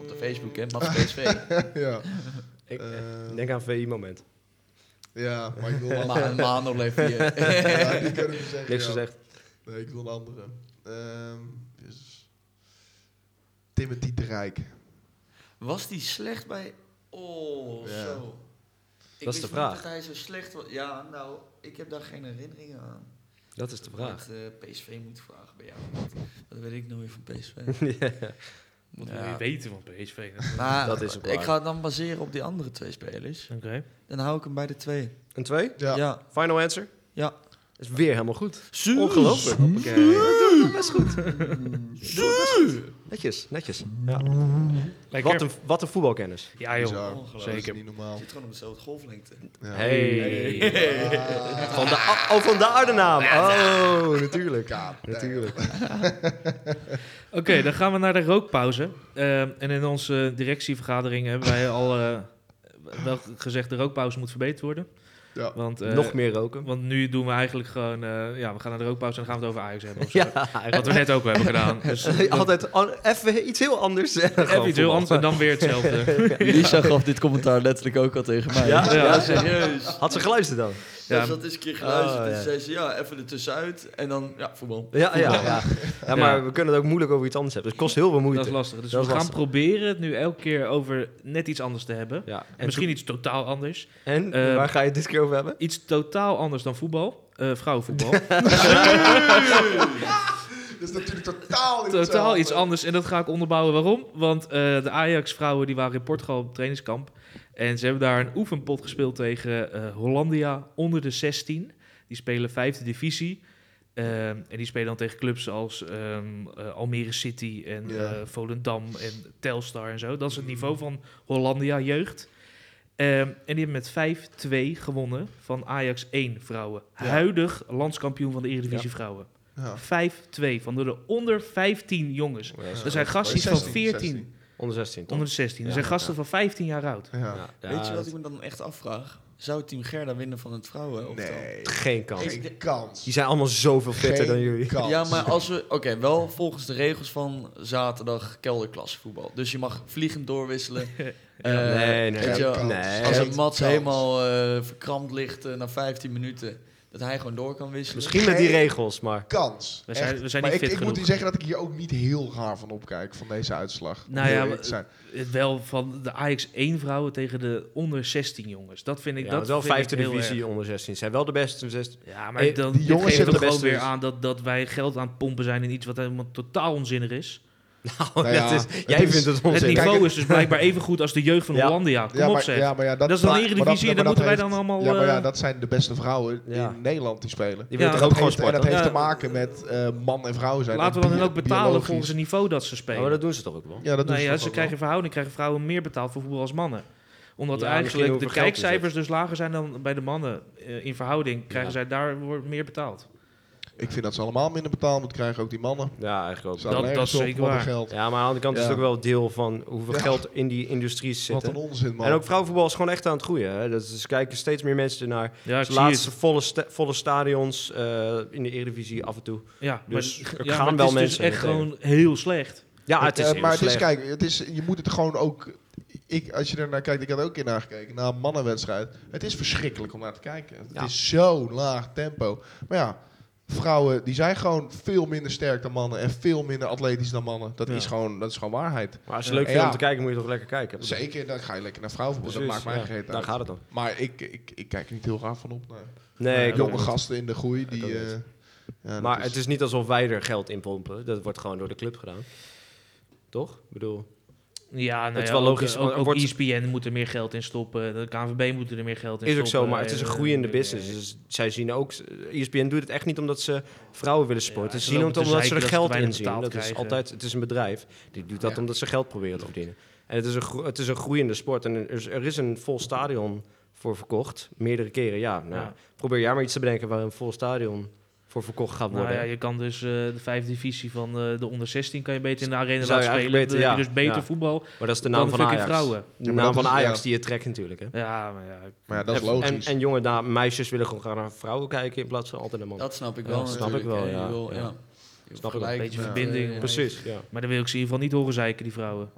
D: Op de Facebook, hè? Mats PSV.
B: ja.
C: Ik
B: Eh,
C: denk aan VI-moment.
B: ja, maar ik wil een andere.
D: Maar Mano leeft hier.
B: ja, die kunnen we zeggen.
C: Niks
B: ja.
C: gezegd.
B: Nee, ik wil een andere. Ehm dus. Timothy de Rijk.
D: Was die slecht bij... Oh,
B: Ja.
D: zo. Ik
C: Dat is
D: wist
C: de
D: niet
C: vraag.
D: dat hij zo slecht was. Ja, nou, ik heb daar geen herinneringen aan.
C: Dat is de vraag.
D: Dat eh, PSV moet vragen bij jou. Dat weet ik nooit van PSV.
C: Ja.
A: Moet
D: Ja.
A: je weten van PSV.
D: Maar
C: Dat is ook waar.
D: ik ga het dan baseren op die andere twee spelers.
A: Oké.
D: Dan hou ik hem bij de twee.
C: Een 2?
B: Ja.
D: ja.
C: Final answer?
D: Ja.
C: Is weer helemaal goed.
D: Zo.
C: Ongelooflijk.
B: Hoppakee.
C: Best goed. Doe het best goed. Netjes, netjes. Ja.
A: Lekker.
C: Wat, een, wat een voetbalkennis.
A: Ja joh.
B: Bizar.
D: Ongelooflijk.
B: Dat is
A: Zeker.
B: niet normaal.
D: Zit gewoon op dezelfde golflengte.
B: Ja.
C: Hey.
B: Ah,
C: Van de, oh, van daar de naam. Oh, natuurlijk.
B: kaap.
C: Natuurlijk.
A: Oké, dan gaan we naar de rookpauze. Ehm, en in onze directievergadering hebben wij al eh, wel gezegd... de rookpauze moet verbeterd worden.
B: Ja.
A: Want, eh,
C: Nog meer roken.
A: Want nu doen we eigenlijk gewoon... eh, ja, we gaan naar de rookpauze en dan gaan we het over Ajax hebben. of zo.
C: Ja,
A: Wat we net ook hebben gedaan. Dus
C: altijd an- even iets heel anders.
A: even iets heel anders en dan weer hetzelfde.
D: Lisa gaf dit commentaar letterlijk ook al tegen mij.
C: Ja?
A: Ja,
D: serieus.
C: Had ze geluisterd dan?
A: Ja.
D: Dus dat is een keer geluisterd.
C: Oh,
D: en
C: ja.
D: zei ze, ja, even er tussenuit. En dan, ja, voetbal.
C: Ja, ja, ja. Ja, maar
A: Ja.
C: we kunnen het ook moeilijk over iets anders hebben. Het kost heel veel moeite.
A: Dat is lastig. Dus we
C: Dat is
A: gaan
C: lastig.
A: proberen het nu elke keer over net iets anders te hebben.
C: Ja. En,
A: En misschien iets totaal anders.
C: en
A: eh,
C: waar ga je het dit keer over hebben?
A: Iets totaal anders dan voetbal. Eh, vrouwenvoetbal.
B: Dat is natuurlijk totaal iets
A: totaal iets
B: anders.
A: anders. En dat ga ik onderbouwen waarom. Want eh, de Ajax-vrouwen die waren in Portugal op trainingskamp. En ze hebben daar een oefenpot gespeeld tegen eh, Hollandia onder de 16. Die spelen vijfde divisie. Ehm, en die spelen dan tegen clubs als ehm, eh, Almere City en
B: Ja.
A: eh, Volendam en Telstar en zo. Dat is het niveau van Hollandia jeugd. Ehm, en die hebben met 5-2 gewonnen van Ajax 1 vrouwen.
B: Ja.
A: Huidig landskampioen van de Eredivisie vrouwen.
B: Ja.
A: 5-2 van door de onder 15 jongens.
C: Ja,
A: Er zijn gasten
B: Zestien,
A: van 14,
B: zestien.
C: Onder 16, toch?
A: onder de 16. Er
C: Ja,
A: zijn gasten
C: ja.
A: van 15 jaar oud.
B: Ja.
C: Ja.
D: Weet je
C: Ja,
D: wat ik me dan echt afvraag? Zou Team Gerda winnen van het vrouwen?
B: Nee,
C: Geen kans.
B: geen kans.
C: Die zijn allemaal zoveel fitter
B: Geen
C: dan jullie.
B: kans.
D: Ja, maar als we... Oké, wel volgens de regels van zaterdag kelderklasse voetbal. Dus je mag vliegend doorwisselen. Eh,
C: nee, nee.
D: weet je wel,
B: Geen
C: nee.
B: kans.
D: Als
B: Geen
D: een Mats
B: kans.
D: helemaal eh, verkrampt ligt eh, na 15 minuten, dat hij gewoon door kan wisselen.
C: Misschien met die regels, maar...
B: kans.
A: We zijn-
B: Echt.
A: we zijn
B: maar
A: niet
B: ik,
A: fit
B: ik moet
A: genoeg.
B: u zeggen dat ik hier ook niet heel raar van opkijk van deze uitslag. Om
A: Nou
B: heel
A: ja,
B: eerlijk
A: we-
B: te zijn.
A: Het Wel van de Ajax 1 vrouwen tegen de onder 16 jongens. Dat vind ik
C: Ja,
A: dat
C: dat wel
A: vind ik
C: vijfde
A: heel
C: divisie onder 16. Zijn wel de beste. zes-
A: erg. Ja, maar
C: Eh,
A: dan
B: die
A: dit
B: jongens
A: geeft
B: hebben
A: toch
C: de
A: gewoon
C: beste
A: weer
C: dus.
A: aan dat, dat wij geld aan het pompen zijn in iets wat helemaal totaal onzinnig is.
C: Nou,
B: ja,
C: dat is,
B: het
C: jij
B: is-
C: vindt het
A: het
C: onzin.
A: niveau
B: Kijk,
A: is dus blijkbaar even goed als de jeugd van
C: Ja.
A: Hollandia. Kom
B: ja,
A: op
B: maar,
A: zeg.
B: ja, maar ja, dat,
A: dat is dan de
B: maar-
A: Eredivisie en daar
B: maar dat
A: moeten wij
B: heeft-
A: dan allemaal...
B: Ja, maar ja,
A: eh,
B: dat zijn de beste vrouwen
C: Ja.
B: in Nederland die spelen.
C: Die
A: Ja,
C: willen toch
A: dat
C: ook gewoon
B: heeft, en dat
C: sporten?
B: heeft
A: Ja.
B: te maken met eh, man en vrouw zijn.
A: Laten we
B: En
A: dan
B: bio-
A: ook betalen
B: biologisch.
A: volgens het niveau dat ze spelen.
C: Oh, maar dat doen ze toch ook wel?
B: Ja, dat doen
A: nou
B: ze
A: ja,
B: toch
A: ze
B: ook wel.
A: krijgen in verhouding krijgen vrouwen meer betaald voor voetbal als mannen. Omdat
C: Ja, misschien
A: eigenlijk de
C: hoeveel geld er zit.
A: kijkcijfers dus lager zijn dan bij de mannen. Eh, in verhouding krijgen
C: Ja.
A: zij daar wordt meer betaald.
B: Ik vind dat ze allemaal minder betaald moeten krijgen, ook die mannen.
C: Ja, eigenlijk ook.
B: Ze
A: Dat-
B: hadden
A: dat
B: nergens
A: is
B: op
A: zeker
B: wat er
A: waar.
B: Geld.
C: Ja, maar aan de andere kant is het
B: Ja.
C: ook wel deel van hoeveel
B: Ja.
C: geld in die industrie
B: Wat een
C: zit.
B: onzin, man.
C: En ook vrouwenvoetbal is gewoon echt aan het groeien. Hè? Dat is, er kijken steeds meer mensen ernaar.
A: Ja, ik
C: De
A: zie
C: laatste
A: het.
C: volle, sta- volle stadions eh, in de Eredivisie af en toe.
A: Ja,
C: Dus
A: maar,
C: er
A: ja,
C: gaan
A: maar
C: wel
A: het is
C: mensen
A: dus echt
C: meteen.
A: gewoon heel slecht.
C: Ja, het is
B: Eh,
C: heel
B: maar het
C: slecht.
B: is, kijk, het is, je moet het gewoon ook... Ik, als je er naar kijkt, ik had ook in naar gekeken, naar een mannenwedstrijd. Het is verschrikkelijk om naar te kijken. Het
C: Ja.
B: is zo laag tempo. Maar ja, vrouwen die zijn gewoon veel minder sterk dan mannen en veel minder atletisch dan mannen. Dat,
A: Ja.
B: is, gewoon, dat is gewoon waarheid.
C: maar als je het leuk
B: Ja.
C: vindt om te kijken, moet je toch lekker kijken.
B: Zeker, dan ga je lekker naar vrouwenvoetbal. Dat maakt
C: Precies,
B: mij
C: ja.
B: geen reet
C: Daar
B: uit.
C: gaat het om.
B: Maar ik, ik, ik kijk er niet heel raar van op naar
C: Nee, ik
A: ook
B: jonge
C: niet.
B: gasten in de groei. Die,
C: ook niet.
B: eh, ja, dat
C: Maar
B: is-
C: het is niet alsof wij er geld in pompen. Dat wordt gewoon door de club gedaan. Toch? Ik bedoel,
A: Ja, nou
C: Het is
A: ja,
C: wel
A: ook,
C: logisch,
A: Ook, E
C: want er
A: ook
C: wordt-
A: ESPN moet er meer geld in stoppen. De KNVB moet er meer geld in
C: is ook
A: stoppen.
C: zo, maar het is een
A: En,
C: groeiende
A: eh,
C: business. Dus zij zien ook, E ESPN doet het echt niet omdat ze vrouwen willen sporten.
A: Ja,
C: ze
A: ze
C: zien het
A: lopen te
C: omdat ze er
A: zeiken dat ze
C: geld
A: te weinig
C: in zien. Dat
A: betaald
C: is
A: krijgen.
C: altijd, het is een bedrijf, die doet dat
B: Ja.
C: omdat ze geld proberen te verdienen. En het is een, gro- het is een groeiende sport en er is, er is een vol stadion voor verkocht, meerdere keren. Ja, nou,
A: Ja.
C: probeer jij maar iets te bedenken waar een vol stadion voor verkocht gaat worden.
A: Nou ja, je kan dus eh, de vijfde divisie van eh, de onder 16 kan je beter in de arena
C: Zou je
A: laten
C: eigenlijk
A: spelen. Dan
C: beter-
A: heb
C: ja,
A: je dus beter
C: ja.
A: voetbal
C: maar dat is de
A: dan
C: naam
A: de
C: van
A: fucking
C: Ajax.
A: vrouwen.
C: De
B: maar
C: naam
B: dat
C: van
B: is- ja.
C: Ajax die je trekt natuurlijk. Hè?
A: Ja, maar ja.
B: maar ja, dat is
C: En-
B: logisch.
C: En, en jonge da- meisjes willen gewoon gaan naar vrouwen kijken in plaats van altijd naar mannen.
D: Dat snap ik
C: Ja,
D: wel.
C: dat snap
D: natuurlijk.
C: ik wel,
D: Eh, je
C: ja.
D: wil-
C: Ja.
D: ja.
C: Snap ik wel.
D: Een
A: Beetje verbinding.
D: eh,
C: Precies, ja.
A: Maar dan wil ik ze in ieder geval niet horen zeiken, die vrouwen.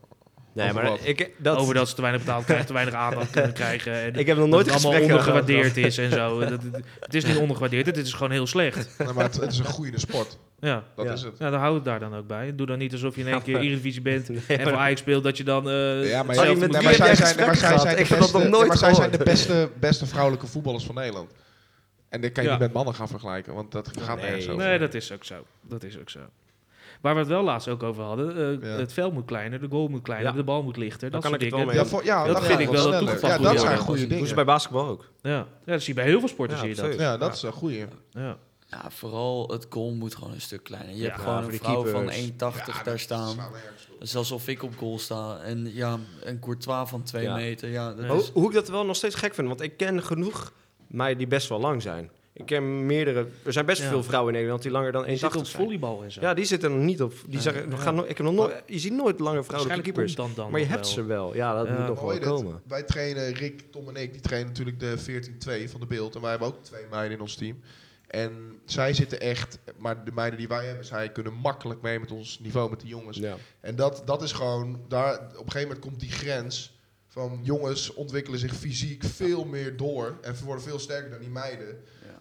C: Nee,
B: Over
C: maar
B: wat?
C: ik, dat,
A: over dat ze te weinig betaald krijgen, te weinig aandacht kunnen krijgen. En
C: ik heb nog nooit
A: dat
C: een
A: het allemaal
C: gesprek gehad.
A: ondergewaardeerd is en zo. Dat, het, het is niet ondergewaardeerd, het is gewoon heel slecht.
B: Nee, maar het, het is een groeiende sport.
A: Ja.
B: Dat
C: Ja.
B: is het.
A: Ja, dan hou het daar dan ook bij. Doe dan niet alsof je in één keer
C: maar-
A: Eredivisie bent
C: Nee,
A: en
C: maar-
A: voor Ajax speelt dat je dan eh
B: Ja, maar,
C: Harry,
A: hetzelfde
C: met
A: moet
B: nee,
C: wie
A: doen.
B: maar
C: heb jij
B: zij zijn,
C: gesprekken
B: maar zij
C: gehad?
B: zijn de
C: Ik heb dat
B: beste-
C: nog nooit
B: nee, maar zij zijn de
C: gehoord.
B: beste, beste vrouwelijke voetballers van Nederland. En dat kan je
A: Ja.
B: niet met mannen gaan vergelijken, want dat gaat
C: Nee.
B: nergens over.
A: Nee, dat is ook zo. Dat is ook zo. Waar we het wel laatst ook over hadden, eh,
B: Ja.
A: het veld moet kleiner, de goal moet kleiner,
C: Ja.
A: de bal moet lichter.
C: Daar
A: Dat
C: kan
A: soort
C: ik het
A: dingen.
C: wel
B: ja, voor, ja,
C: Dat
B: dan
C: vind
B: gaat
C: ik
B: het
A: wel
B: sneller.
A: toegepast
B: Ja,
A: moet
B: dat
A: worden.
B: zijn
A: Dat
B: goede
C: Doen ze
B: dingen.
C: bij basketbal ook.
A: Ja. ja, dat zie je bij heel veel sporten
C: Ja,
A: zie je dat.
C: absoluut.
B: Ja, dat is een goede.
A: Ja.
D: Ja, vooral het goal moet gewoon een stuk kleiner.
A: Ja,
D: Je hebt gewoon
C: voor
D: een
C: die
D: vrouw van
C: keepers.
D: 1,80 daar staan. Dat is alsof ik op goal sta. En ja, een courtois van 2
C: Ja.
D: meter. Ja, dat
C: Ho-
D: is...
C: Hoe ik dat wel nog steeds gek vind, want ik ken genoeg meiden die best wel lang zijn. Ik ken meerdere, er zijn best
A: Ja.
C: veel vrouwen in Nederland die langer dan
A: Je zit
C: 1,80
A: op
C: zijn.
A: volleybal en zo.
C: Ja, die zitten er nog niet op. Die zeggen, we gaan, no- ik heb nog nooit, je ziet nooit lange vrouwelijke
A: Waarschijnlijk
C: keepers.
A: komt dan dan
C: Maar je
A: nog
C: hebt
A: wel.
C: ze wel. Ja, dat
A: Ja.
C: moet nog wel
B: Mooi dit.
C: komen.
B: Wij trainen, Rick, Tom en ik, die trainen natuurlijk de 14-2 van de beeld. En wij hebben ook twee meiden in ons team. En zij zitten echt, maar de meiden die wij hebben, zij kunnen makkelijk mee met ons niveau, met de jongens.
C: Ja.
B: En dat, dat is gewoon, daar, op een gegeven moment komt die grens Van jongens ontwikkelen zich fysiek veel meer door. En ze worden veel sterker dan die meiden.
D: Ja.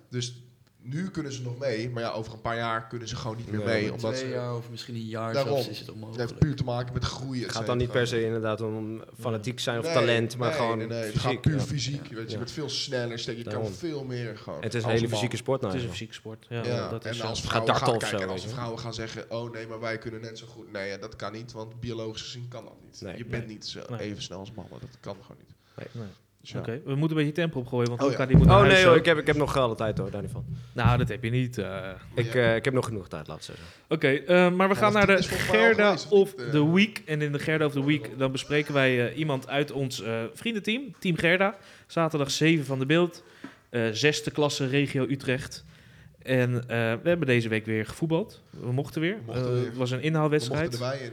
B: Dus nu kunnen ze nog mee. Maar ja, over een paar jaar kunnen ze gewoon niet meer
C: Nee,
B: mee.
D: Over
B: Omdat
D: twee
B: ze,
D: jaar of misschien een jaar
B: Daarom.
D: zelfs is het
B: het
D: onmogelijk.
B: heeft puur te maken met groeien.
C: Het gaat dan niet per se inderdaad om fanatiek zijn of talent, maar gewoon
B: nee, nee, Het
C: fysiek.
B: gaat puur
C: ja.
B: fysiek.
D: Ja.
B: Weet je, je
C: Ja.
B: wordt veel sneller. sterker, Je
C: Daarom.
B: kan veel meer gewoon.
C: Het is een
B: als
C: hele
B: man.
C: fysieke sport nou.
A: Het is een
C: eigenlijk.
A: fysieke sport. Ja,
B: Ja,
A: dat
B: en
A: is
B: als
A: zo.
B: vrouwen,
C: darten
B: gaan,
C: of zo,
B: kijken, en als
C: weet je.
B: vrouwen gaan zeggen, oh nee, maar wij kunnen net zo goed. Nee, ja, dat kan niet, want biologisch gezien kan dat niet.
C: Nee.
B: je bent
A: Nee.
B: niet zo
A: Nee.
B: even snel als mannen, dat kan gewoon niet.
A: Nee.
B: Dus ja.
A: Oké, we moeten een beetje tempo opgooien, want
B: Oh,
A: Luca
B: ja.
A: die moet naar
C: Oh
A: huis
C: nee hoor,
A: zo.
C: ik heb, ik heb nog alle tijd hoor, daar niet van.
A: Nou, dat heb je niet. eh.
B: Maar
C: Ik,
B: ja,
C: eh, ik heb nog genoeg tijd, laat ik zeggen.
A: Oké, eh, maar we
B: Ja,
A: gaan
B: want
A: naar
B: dit
A: de
B: is volgens mij al
A: Gerda
B: geweest, of
A: of
B: niet? eh.
A: the Week. En in de Gerda of the Week dan bespreken wij eh, iemand uit ons eh, vriendenteam, Team Gerda. Zaterdag 7 van de beeld, eh, zesde klasse regio Utrecht. En eh, we hebben deze week weer gevoetbald. We mochten weer.
B: We mochten
A: Eh, Het was
B: weer.
A: een
B: we mochten
A: inhaalwedstrijd.
B: erbij in.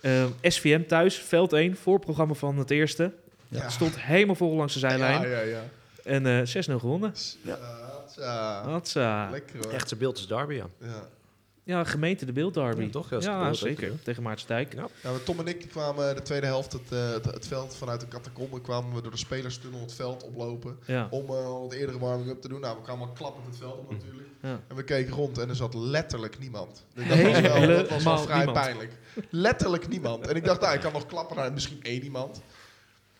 A: Eh, SVM thuis, veld 1, voorprogramma van het eerste.
B: Ja.
A: Het stond helemaal vol langs de zijlijn.
B: Ja, ja, ja.
A: En eh, 6-0 gewonnen.
D: Ja.
B: Ja, tja.
A: Hatsa.
B: Lekker hoor.
C: Echt zijn beeld is Derby, ja.
B: Ja.
A: Ja, gemeente de beeldderby.
C: Ja, toch?
A: Ja,
C: Ja, is de beeld,
A: zeker.
C: hè?
A: Tegen Maartensdijk.
B: Nou, maar Tom en ik die kwamen de tweede helft het, eh, het, het veld vanuit de catacombe kwamen we door de spelerstunnel het veld oplopen.
A: Ja.
B: Om eh, al wat eerdere warming-up te doen. Nou, we kwamen al klappend het veld op natuurlijk.
A: Hm. Ja.
B: En we keken rond en er zat letterlijk niemand. Dus dat was wel, dat was wel
A: Helemaal
B: vrij
A: niemand.
B: pijnlijk. Letterlijk niemand. En ik dacht, nou, ik kan nog klappen naar misschien één iemand.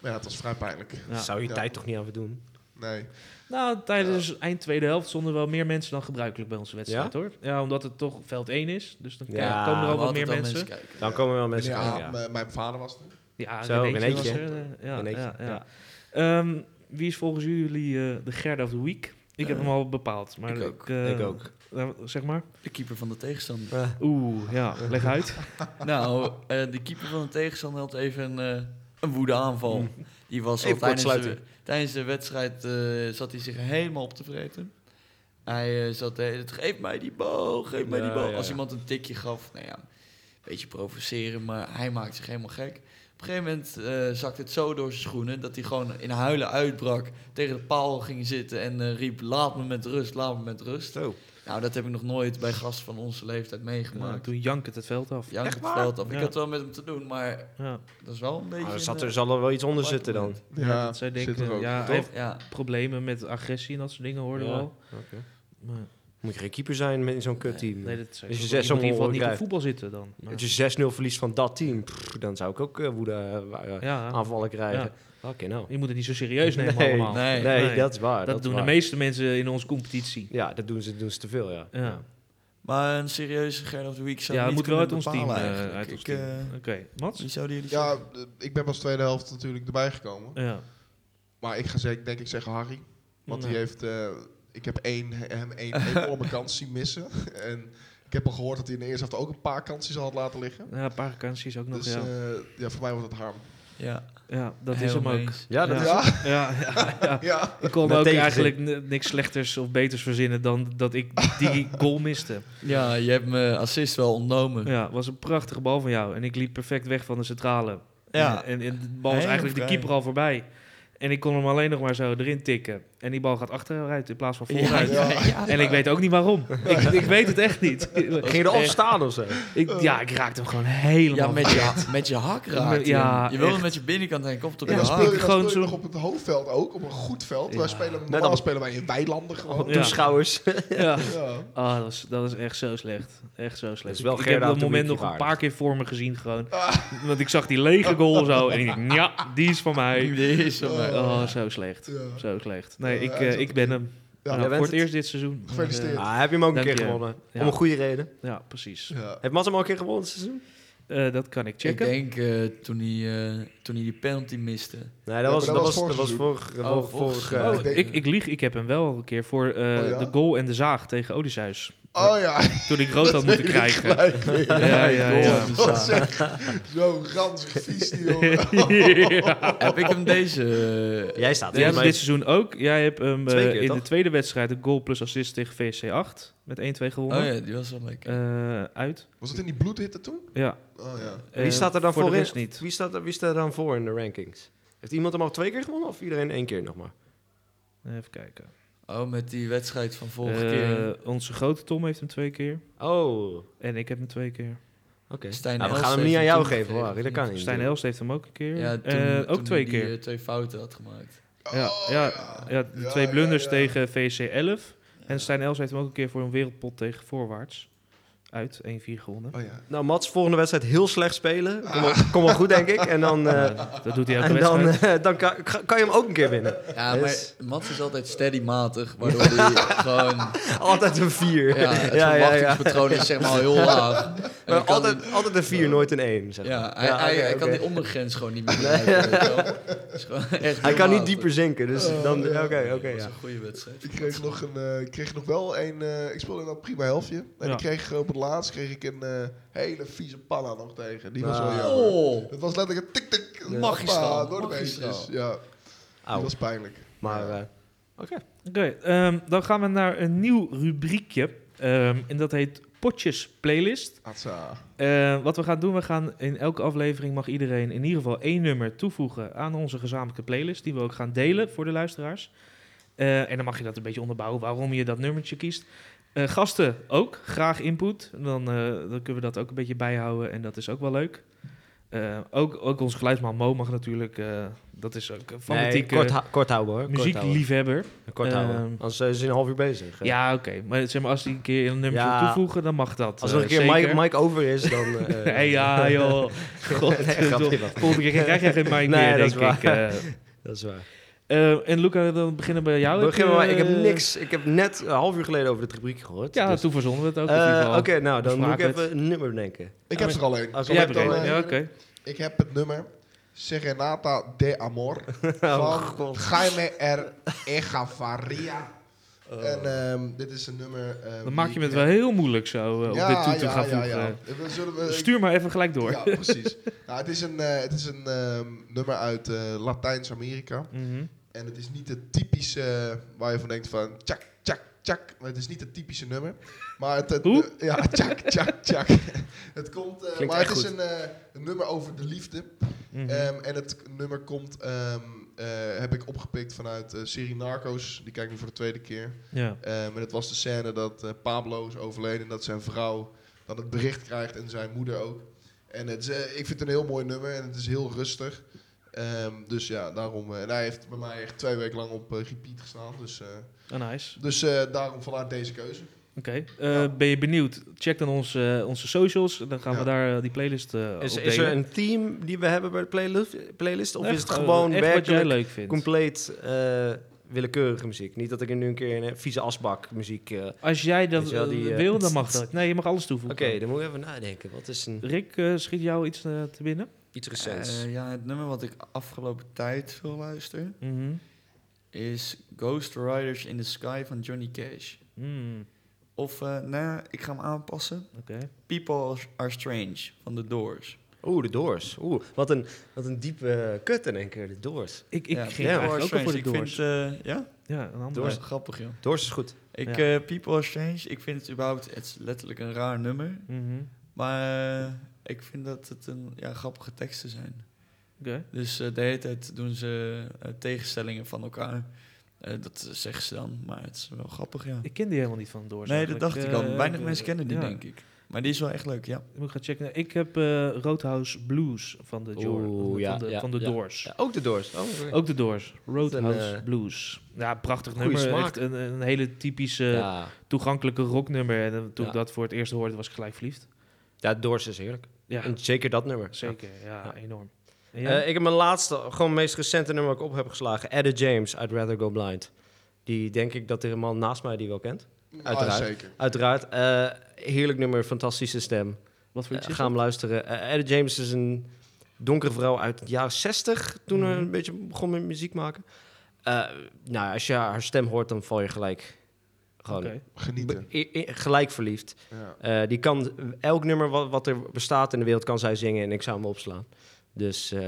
B: Maar ja, het was vrij pijnlijk.
A: Ja.
C: Zou je
B: Ja.
C: tijd toch niet aan doen?
B: Nee.
A: Nou, tijdens eind tweede helft stonden wel meer mensen dan gebruikelijk bij onze wedstrijd,
C: Ja?
A: hoor. Ja, omdat het toch veld 1 is. Dus dan k-
C: Ja,
A: komen er
D: We
A: al wat
D: hadden
A: meer
D: dan
A: mensen.
D: kijken.
C: Dan komen wel mensen
B: Meneer
C: kijken,
B: Aap,
C: ja.
B: eh, mijn vader was er.
A: Ja,
C: Zo,
A: Renéetje was
C: Renéetje.
A: er, eh, Ja,
C: Renéetje,
A: ja, ja.
C: ja.
A: Ehm, wie is volgens jullie eh, de Gerda of the Week? Ik heb
D: Eh,
A: hem al bepaald. Maar
D: ik ook.
A: eh,
C: ik ook.
A: nou, zeg maar.
D: De keeper van de tegenstander.
C: Eh,
A: Oeh, ja, leg uit.
D: Nou, eh, de keeper van de tegenstander had even eh, een woedeaanval. Die was al
C: Mm. Even kort
D: tijdens de,
C: sluiten.
D: tijdens de wedstrijd eh, zat hij zich helemaal op te vreten. Hij eh, zat de hele tijd, geef mij die bal, geef mij die
C: Ja,
D: bal.
C: ja,
D: Als
C: ja.
D: iemand een tikje gaf, nou ja, een beetje provoceren, maar hij maakt zich helemaal gek. Op een gegeven moment eh zakte het zo door zijn schoenen dat hij gewoon in huilen uitbrak, tegen de paal ging zitten en eh, riep, laat me met rust, laat me met rust.
C: zo.
D: Nou, dat heb ik nog nooit bij gasten van onze leeftijd
A: Nou,
D: meegemaakt.
A: toen jank het het veld af. Ja.
D: Jank het veld af. Ik
A: Ja.
D: had wel met hem te doen, maar dat is wel een beetje...
C: Ah, er, zat,
D: een, eh,
C: er zal er wel iets onder zitten dan.
A: Ja, dat zij
B: zit er
A: denken,
B: ook.
A: ja,
B: Toch?
A: hij heeft
D: Ja,
A: problemen met agressie en dat soort dingen, hoorden we
C: Ja.
A: al.
C: Oké.
A: Maar,
C: Moet je geen keeper zijn met in zo'n kutteam.
A: nee, dat is
C: Als je
A: iemand
C: zes
A: die in ieder geval
C: omhoog
A: niet op
C: krijgt.
A: voetbal zitten dan. Maar-
C: Als je 6-0 verliest van dat team, pff, dan zou ik ook eh, woede eh, eh,
A: ja,
C: aanvallen krijgen. Oké, nou.
A: Ah, Je moet het niet zo serieus nemen
C: Nee,
A: allemaal.
D: nee.
C: Nee, dat is waar.
A: dat,
C: is
A: doen de
C: waar.
A: meeste mensen in onze competitie.
C: Ja, dat doen ze, doen ze te veel, ja.
A: Ja.
D: maar een serieuze Gerda of the Week zou
A: Ja,
D: ik
A: het
D: niet
A: moet wel uit
D: kunnen
A: ons team.
D: bepalen
A: eh,
D: eigenlijk.
A: uit ons
D: Ik,
A: team.
D: eh,
A: Oké, Mats?
D: Wie zouden jullie
B: Ja,
D: zeggen?
B: eh, ik ben pas tweede helft natuurlijk erbij gekomen.
A: Ja.
B: Maar ik ga zeker, denk ik zeggen Harry.
A: Nou.
B: Want die heeft... eh, ik heb één, hem één enorme kans zien missen. En ik heb al gehoord dat hij in de eerste helft ook een paar kansjes al had laten liggen.
A: nou? Ja, een paar kansjes ook nog.
B: Dus
A: ja.
B: eh, ja, voor mij was het harm.
D: Ja,
A: ja, dat is hem
D: helemaal
A: ook.
D: eens.
C: Ja, dat
A: Ja.
C: is
B: Ja,
A: Ja, ja, ja.
B: ja.
A: Ik kon
C: Met
A: ook
C: tegenzin.
A: eigenlijk n- niks slechters of beters verzinnen dan dat ik die goal miste.
D: Ja, je hebt me assist wel ontnomen.
A: Ja, was een prachtige bal van jou. En ik liep perfect weg van de centrale.
D: Ja.
A: En, en de bal was
D: Heel
A: eigenlijk de
D: vrij.
A: keeper al voorbij. En ik kon hem alleen nog maar zo erin tikken. En die bal gaat achteruit in plaats van
D: Ja,
A: vooruit.
D: ja, ja.
A: En ik weet ook niet waarom. Ik, ik weet het echt niet.
C: Ging je erop staan of zo?
A: Ik, ja, ik raakte hem gewoon helemaal.
D: Ja, met je, met je hak raakt
A: Ja,
D: ja, Je wilde
A: echt. met
D: met je binnenkant en komt op
B: En
D: je
A: Ja,
B: dan
A: dat
D: hak.
B: speel je, dan
A: Gewoon
B: speel je
A: zo-
B: nog op het hoofdveld ook, op een goed veld. Wij
A: Ja.
B: spelen,
C: Net
B: normaal
C: op-
B: spelen wij in weilanden gewoon.
A: Ja.
C: Toeschouwers.
A: ja.
B: Ja.
A: Ah, dat, is, dat is echt zo slecht. Echt zo slecht.
C: Dat is wel
A: ik ik heb
C: Gerda
A: dat
C: op de
A: moment
C: wiki
A: nog een
C: waardig.
A: paar keer voor me gezien gewoon. Want ik zag die lege goal zo. En ik dacht, ja, die is van mij.
D: Die is van mij.
A: Oh, zo slecht.
B: Ja.
A: Zo slecht. Nee,
B: Ja,
A: ik,
B: hij is
A: eh, ik ben hem.
B: Ja,
A: Nou,
C: jij bent
A: voor het
C: het.
A: eerst dit seizoen.
B: Gefeliciteerd.
A: Maar,
C: Ah, heb je hem ook een
A: Dank
C: keer
A: je.
C: gewonnen?
A: Ja.
C: Om een goede reden.
A: eh, ja, precies.
B: Ja.
C: Heeft Mats hem al een keer gewonnen dit seizoen?
A: Eh, dat kan ik
D: Ik
A: checken.
D: denk eh, toen, hij, eh, toen hij die penalty miste.
C: Nee,
B: Ja,
C: dat was,
B: maar
C: dat
B: dat
C: was,
B: was
C: dat was
B: vorig
C: vorig,
D: Oh,
C: vorig,
D: vorig
C: vorig, eh,
A: oh,
B: ik denk-
A: ik, ik lieg. Ik heb hem wel een keer voor eh,
B: Oh, ja?
A: de goal en de zaag tegen Odysseus.
B: Oh ja,
A: Toen ik rood had moeten krijgen.
B: gelijk weer.
A: Ja, ja, ja.
D: Goal.
B: Wat zeg, Zo ranzig vies die jongen.
A: Ja.
D: Heb ik hem deze... eh,
C: Jij staat
A: Jij
C: er.
A: hebt
C: maar-
A: dit seizoen ook. Jij hebt hem eh,
C: Twee keer,
A: in
C: toch?
A: de tweede wedstrijd een goal plus assist tegen VSC8 met 1-2 gewonnen.
D: oh ja, die was wel lekker.
A: Eh, uit.
B: Was het in die bloedhitte toen?
A: Ja.
B: Oh ja.
A: Eh,
C: Wie staat er dan
A: voor
C: voor
A: de
C: in?
A: rest niet.
C: Wie staat, er- wie staat er dan voor in de rankings? Heeft iemand hem al twee keer gewonnen of iedereen één keer nog maar?
A: Even kijken.
D: Oh, met die wedstrijd van vorige
A: Eh,
D: keer.
A: Onze grote Tom heeft hem twee keer.
C: Oh,
A: En ik heb hem twee keer.
C: oké.
D: Stijn
C: Nou, we
D: Elst
C: gaan hem
D: heeft
C: niet aan jou
D: toen
C: geven, hoor. Harry. Dat kan niet.
A: Stijn Elst heeft hem ook een keer.
D: Ja, toen,
A: Eh, ook
D: toen
A: twee
D: hij
A: keer.
D: die, eh, twee fouten had gemaakt.
A: Ja,
B: Oh,
A: ja, ja, de
B: Ja,
A: twee
B: ja,
A: blunders
B: ja.
A: tegen VSC 11.
D: Ja.
A: En Stijn Els heeft hem ook een keer voor een wereldpot tegen Voorwaarts. Uit, 1-4 gewonnen.
B: Oh ja.
C: Nou, Mats, volgende wedstrijd heel slecht spelen. Kom wel, kom wel goed, denk ik. En dan, eh,
A: Ja, dat doet hij elke
C: en dan,
A: wedstrijd.
C: eh, dan kan, kan je hem ook een keer winnen.
D: Ja,
C: Yes.
D: maar Mats is altijd steadymatig, waardoor hij gewoon...
C: Altijd een vier.
D: Ja, het verwachtingspatroon is zeg maar al heel laag. En
C: Maar
D: dan kan
C: altijd, altijd een vier, nooit een één.
D: hij-
C: Zeg maar.
D: ja, hij, hij,
C: oké,
D: hij kan
C: oké.
D: die ondergrens gewoon niet meer bereiken. weet je wel. Het is gewoon echt
C: Hij
D: heel
C: kan niet
D: matig.
C: dieper zinken, dus
B: Oh,
C: dan... Oké,
B: ja.
C: oké,
D: Dat was
C: ja.
D: een goede wedstrijd.
B: Ik kreeg nog, een, eh, ik kreeg nog wel een... eh, ik speelde in dat prima helftje. En
A: Ja.
B: ik kreeg op het laatst kreeg ik een eh, hele vieze panna nog tegen. Die was wel
C: Ah.
B: jammer.
D: Oh,
B: Het was letterlijk een tik-tik.
D: Ja.
B: Magistraal.
D: Magistraal,
B: Door de
D: magistraal.
B: beentjes. Ja,
C: Auw.
B: dat was pijnlijk.
C: Maar,
B: Ja.
C: eh, oké.
A: Oké, ehm, dan gaan we naar een nieuw rubriekje. Ehm, en dat heet Potjes Playlist.
B: Atsa.
A: Eh, wat we gaan doen, we gaan in elke aflevering mag iedereen in ieder geval één nummer toevoegen aan onze gezamenlijke playlist. Die we ook gaan delen voor de luisteraars. Eh, en dan mag je dat een beetje onderbouwen waarom je dat nummertje kiest. Eh, gasten ook, graag input. Dan, eh, dan kunnen we dat ook een beetje bijhouden en dat is ook wel leuk. Eh, ook, ook onze geluidsman Mo mag natuurlijk, eh, dat is ook een
C: Nee,
A: fanatieke
C: kort, hou- kort houden hoor. Kort houden.
A: muziekliefhebber.
C: Kort houden.
A: Ehm,
C: Anders eh, is hij een half uur bezig. hè.
A: Ja, oké. Maar zeg maar, als hij een keer een nummertje
C: Ja.
A: wil toevoegen, dan mag dat.
C: Als
A: eh,
C: er nog een keer
A: zeker.
C: Mike, Mike over is, dan... eh,
A: Hey, ja, joh. God,
C: Nee, grapje,
A: joh. volgende keer krijg jij geen mic
C: Nee,
A: meer,
C: dat
A: denk
C: is
A: ik. eh.
C: Dat is waar.
A: Eh, en Luca, dan beginnen we bij jou.
C: We beginnen maar, ik heb
A: eh,
C: niks... Ik heb net een half uur geleden over dit rubriek gehoord.
A: Ja,
C: dus-
A: toen verzonnen we het ook. in
C: Eh,
A: ieder
C: Oké,
A: geval.
C: nou, dan moet ik
A: Smakelijk.
C: even een nummer bedenken.
B: Ik
A: Ja,
B: heb er al een.
C: Als
B: Zal
A: Jij
B: ik
A: hebt
B: dan
A: er een,
B: een-
A: ja, eh, oké.
B: Ik heb het nummer Serenata de Amor
C: Oh,
B: van
C: God.
B: Jaime R. Echevarria. En ehm, dit is een nummer... ehm,
A: Oh. Dan maak je
B: die-
A: me het wel heel moeilijk zo, eh, om dit toe te gaan voegen. Eh,
B: We zullen we,
A: Stuur maar even gelijk door.
B: Ja, precies. nou, het is een, eh, het is een ehm, nummer uit eh, Latijns-Amerika.
A: Mhm.
B: En het is niet het typische eh, waar je van denkt van tjak, tjak, tjak. Maar het is niet het typische nummer. Maar het, het-
A: Hoe?
B: eh, ja, tjak, tjak, tjak. het komt, eh,
C: Klinkt
B: maar
C: echt
B: het is
C: goed.
B: een, eh, een nummer over de liefde.
A: Mhm.
B: Ehm, en het nummer komt, ehm, eh, heb ik opgepikt vanuit eh serie Narcos. Die kijk ik nu voor de tweede keer.
A: ja.
B: Ehm, en het was de scène dat eh, Pablo is overleden en dat zijn vrouw dan het bericht krijgt en zijn moeder ook. En het is, eh, ik vind het een heel mooi nummer en het is heel rustig. Ehm, dus ja, daarom. eh, en hij heeft bij mij echt twee weken lang op eh, repeat gestaan. Dus, eh,
A: Ah, nice.
B: dus eh, daarom vanuit deze keuze.
A: Oké. Eh, Ben je benieuwd? Check dan onze, onze socials. Dan gaan
B: Ja.
A: we daar eh, die playlist eh
C: Is,
A: op
C: is er
A: delen.
C: een team die we hebben bij de playlist? playlist of
A: Echt,
C: is het
A: eh,
C: gewoon
A: echt wat jij
C: werkelijk
A: leuk vindt.
C: compleet eh, willekeurige muziek? Niet dat ik er nu een keer een vieze asbak muziek... eh, Oké,
A: Als jij dat
C: Weet je wel, die,
A: eh,
C: eh,
A: wil, dan mag dat. Nee, je mag alles toevoegen.
C: dan moet ik even nadenken. Wat is een...
A: Rick, eh, schiet jou iets eh, te binnen?
C: Iets recents.
D: Eh, ja, het nummer wat ik afgelopen tijd veel luister
A: Mhm.
D: is Ghost Riders in the Sky van Johnny Cash.
A: Mm,
D: Of, eh nou ja, ik ga hem aanpassen.
A: Oké.
D: People Are Strange van The Doors.
C: Oeh, de Doors. Oeh, wat een, wat een diepe eh, kut in één keer, de Doors.
A: Ik, ik
D: Ja,
A: ging
D: People
A: eigenlijk
D: Are
A: ook al
D: Strange.
A: voor de
D: Ik
A: Doors.
D: vind, eh, ja,
A: ja, een ander.
D: Doors. grappig joh.
C: Doors is goed.
D: Ik,
A: Ja.
D: eh, People Are Strange, ik vind het überhaupt, het is letterlijk een raar nummer.
A: Mhm.
D: Maar eh, ik vind dat het een ja, grappige teksten zijn.
A: Oké.
D: Dus eh, de hele tijd doen ze eh, tegenstellingen van elkaar. Eh, dat zeggen ze dan, maar het is wel grappig, ja.
A: Ik ken die helemaal niet van Doors.
D: Nee,
A: eigenlijk.
D: dat dacht ik
A: Eh,
D: al. Weinig
A: eh,
D: mensen kennen die,
A: ja.
D: denk ik. Maar die is wel echt leuk, ja.
A: Ik moet gaan checken. Ik heb eh, Roadhouse Blues van de, Jor-
C: Oeh,
A: van de,
C: ja,
A: van de,
C: ja,
A: van de
C: ja.
A: Doors.
C: Ja, ook de Doors. Oh, oké.
A: Ook de Doors. Roadhouse
C: eh,
A: Blues. Ja, prachtig
C: goeie
A: nummer.
C: smaak.
A: Echt een, een hele typische
C: ja.
A: toegankelijke rocknummer. En eh, toen ik
C: Ja.
A: dat voor het eerst hoorde, was ik gelijk verliefd.
C: ja, Doors is heerlijk.
A: Ja,
C: En zeker dat nummer.
A: zeker. Ja,
C: Ja.
A: enorm. En
C: Ja.
A: jij?
C: Eh, ik heb mijn laatste, gewoon meest recente nummer dat ik op heb geslagen. Eddie James, I'd Rather Go Blind. Die denk ik dat er een man naast mij die wel kent. Uiteraard.
B: Ah, zeker.
C: Uiteraard. eh, heerlijk nummer, fantastische stem.
A: Wat voor
C: Eh,
A: iets is
C: ga hem luisteren. Eh Eddie James is een donkere vrouw uit de jaren 60, toen we
A: Mhm.
C: een beetje begon met muziek maken. Eh, nou, ja, als je haar stem hoort, dan val je gelijk.
A: dat?
C: Gewoon
A: Oké.
B: Genieten.
C: be- i- i- gelijk verliefd.
B: Ja.
C: Eh, die kan elk nummer wat, wat er bestaat in de wereld kan zij zingen en ik zou hem opslaan. Dus eh,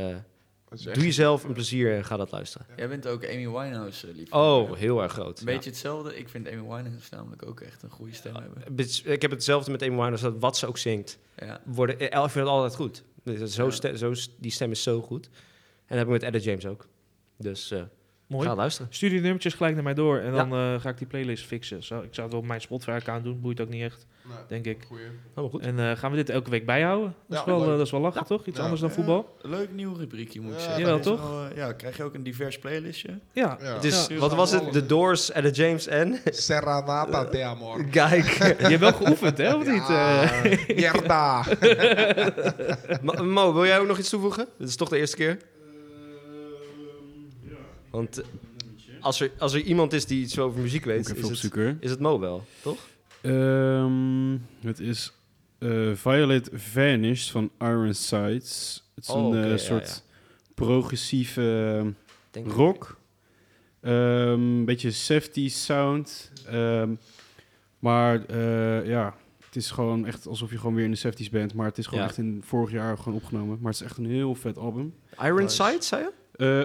B: Dat is echt-
C: doe jezelf een plezier en ga dat luisteren.
D: Jij bent ook Amy Winehouse, eh, lief.
C: Oh, heel erg groot.
D: Een beetje hetzelfde. Ik vind Amy Winehouse namelijk ook echt een goede stem hebben.
C: Ja. Bits- Ik heb hetzelfde met Amy Winehouse, dat wat ze ook zingt,
D: Ja.
C: worden, eh, ik vind het altijd goed. Dus dat is Zo
D: Ja.
C: ste- zo, s- die stem is zo goed. En dat heb ik met Eddie James ook. Dus eh,
A: mooi.
C: Ga luisteren.
A: Stuur die nummertjes gelijk naar mij door en
C: Ja.
A: dan eh, ga ik die playlist fixen. Zo, ik zou het op mijn Spotify-account doen, boeit ook niet echt,
B: Nou,
A: denk ik.
B: goeie.
C: Helemaal goed.
A: En eh, gaan we dit elke week bijhouden? Dat is,
B: Ja,
A: wel,
B: leuk.
A: eh, dat is wel lachen, toch? Iets
B: Ja.
A: anders dan
D: Ja.
A: voetbal?
D: Leuk nieuw rubriekje moet ik
B: Ja,
D: zeggen.
A: Jawel,
D: Dat is
A: toch?
D: wel, eh, ja, krijg je ook een divers playlistje.
A: Ja.
B: Ja.
C: Het
B: Ja.
C: is,
A: Ja.
C: wat was het? The Doors, Ella James en...
B: Serenata de amor.
C: Kijk.
A: Je hebt wel geoefend, hè? Of niet? Eh,
B: Jerda.
C: Mo, Mo, wil jij ook nog iets toevoegen? Dit is toch de eerste keer? Want eh, als er, als er iemand is die iets over muziek
E: Moet ik
C: weet,
E: even
C: is het,
E: opzoeken. hoor.
C: is het Mo wel, toch?
E: Ehm, het is eh Violet Vanished van Iron Sights. Het is
C: Oh,
E: een
C: oké,
E: eh,
C: ja,
E: soort
C: ja.
E: progressieve eh,
C: Denk ik.
E: rock. Ehm, Een beetje safety sound. Ehm, maar eh, ja, het is gewoon echt alsof je gewoon weer in de safeties bent. Maar het is gewoon
C: Ja.
E: echt in vorig jaar gewoon opgenomen. Maar het is echt een heel vet album.
C: Iron
B: Nice.
C: Sight, zei je?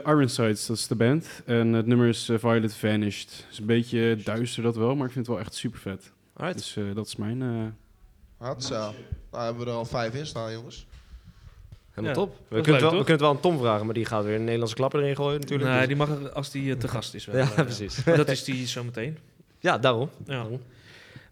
E: Eh Iron Sights, dat is de band. En het nummer is eh, Violet Vanished. Het is een beetje duister dat wel, maar ik vind het wel echt super vet.
C: Alright.
E: Dus eh, dat is mijn... eh,
B: Hatsa. Nou hebben we er al vijf in staan, jongens.
C: Helemaal
A: Ja,
C: top. We
A: leuk,
C: kunnen, het wel, we
A: toch?
C: kunnen het wel aan Tom vragen, maar die gaat weer een Nederlandse klapper erin gooien natuurlijk.
A: nou,
C: dus-
A: die mag er als die eh, te gast is wel.
C: ja,
A: eh,
C: precies.
A: maar dat is die zometeen.
C: Ja, daarom.
A: Ja.
C: Daarom.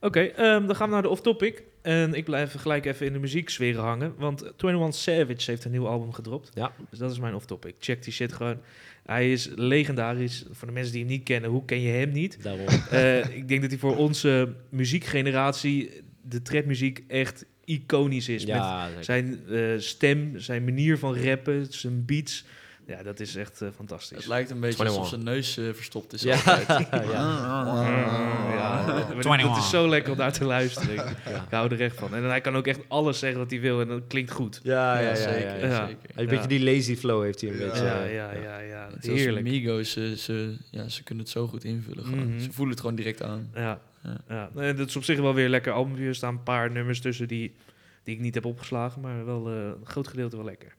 A: Oké, ehm, dan gaan we naar de off-topic. En ik blijf gelijk even in de muzieksfeer hangen. Want 21 Savage heeft een nieuw album gedropt.
C: Ja.
A: Dus dat is mijn off-topic. Check die shit gewoon. Hij is legendarisch. Voor de mensen die hem niet kennen, hoe ken je hem niet?
C: daarom.
A: Eh, ik denk dat hij voor onze muziekgeneratie, de trapmuziek, echt iconisch is. Met
C: ja, zeker.
A: zijn eh, stem, zijn manier van rappen, zijn beats. Ja, dat is echt eh, fantastisch.
D: Het lijkt een beetje
C: 21.
D: alsof zijn neus eh, verstopt is.
C: Ja,
D: altijd.
C: Ah.
B: Ah.
A: Ja, maar dat- dat is zo lekker om naar te luisteren. Ik, ik hou er echt van. En hij kan ook echt alles zeggen wat hij wil en dat klinkt goed.
C: ja, ja, ja, ja,
D: zeker.
C: ja.
A: ja.
D: zeker.
C: Een beetje die lazy flow heeft hij een
B: Ja.
C: beetje.
A: Ja,
C: eh,
A: ja, ja, ja.
D: Net als
A: Heerlijk.
D: Migos, ze, ze, ja, ze kunnen het zo goed invullen. gewoon.
A: Mhm.
D: Ze voelen het gewoon direct aan.
A: Ja.
D: Ja.
A: Ja. En dat is op zich wel weer lekker album. Er staan een paar nummers tussen die, die ik niet heb opgeslagen, maar wel eh, een groot gedeelte wel lekker.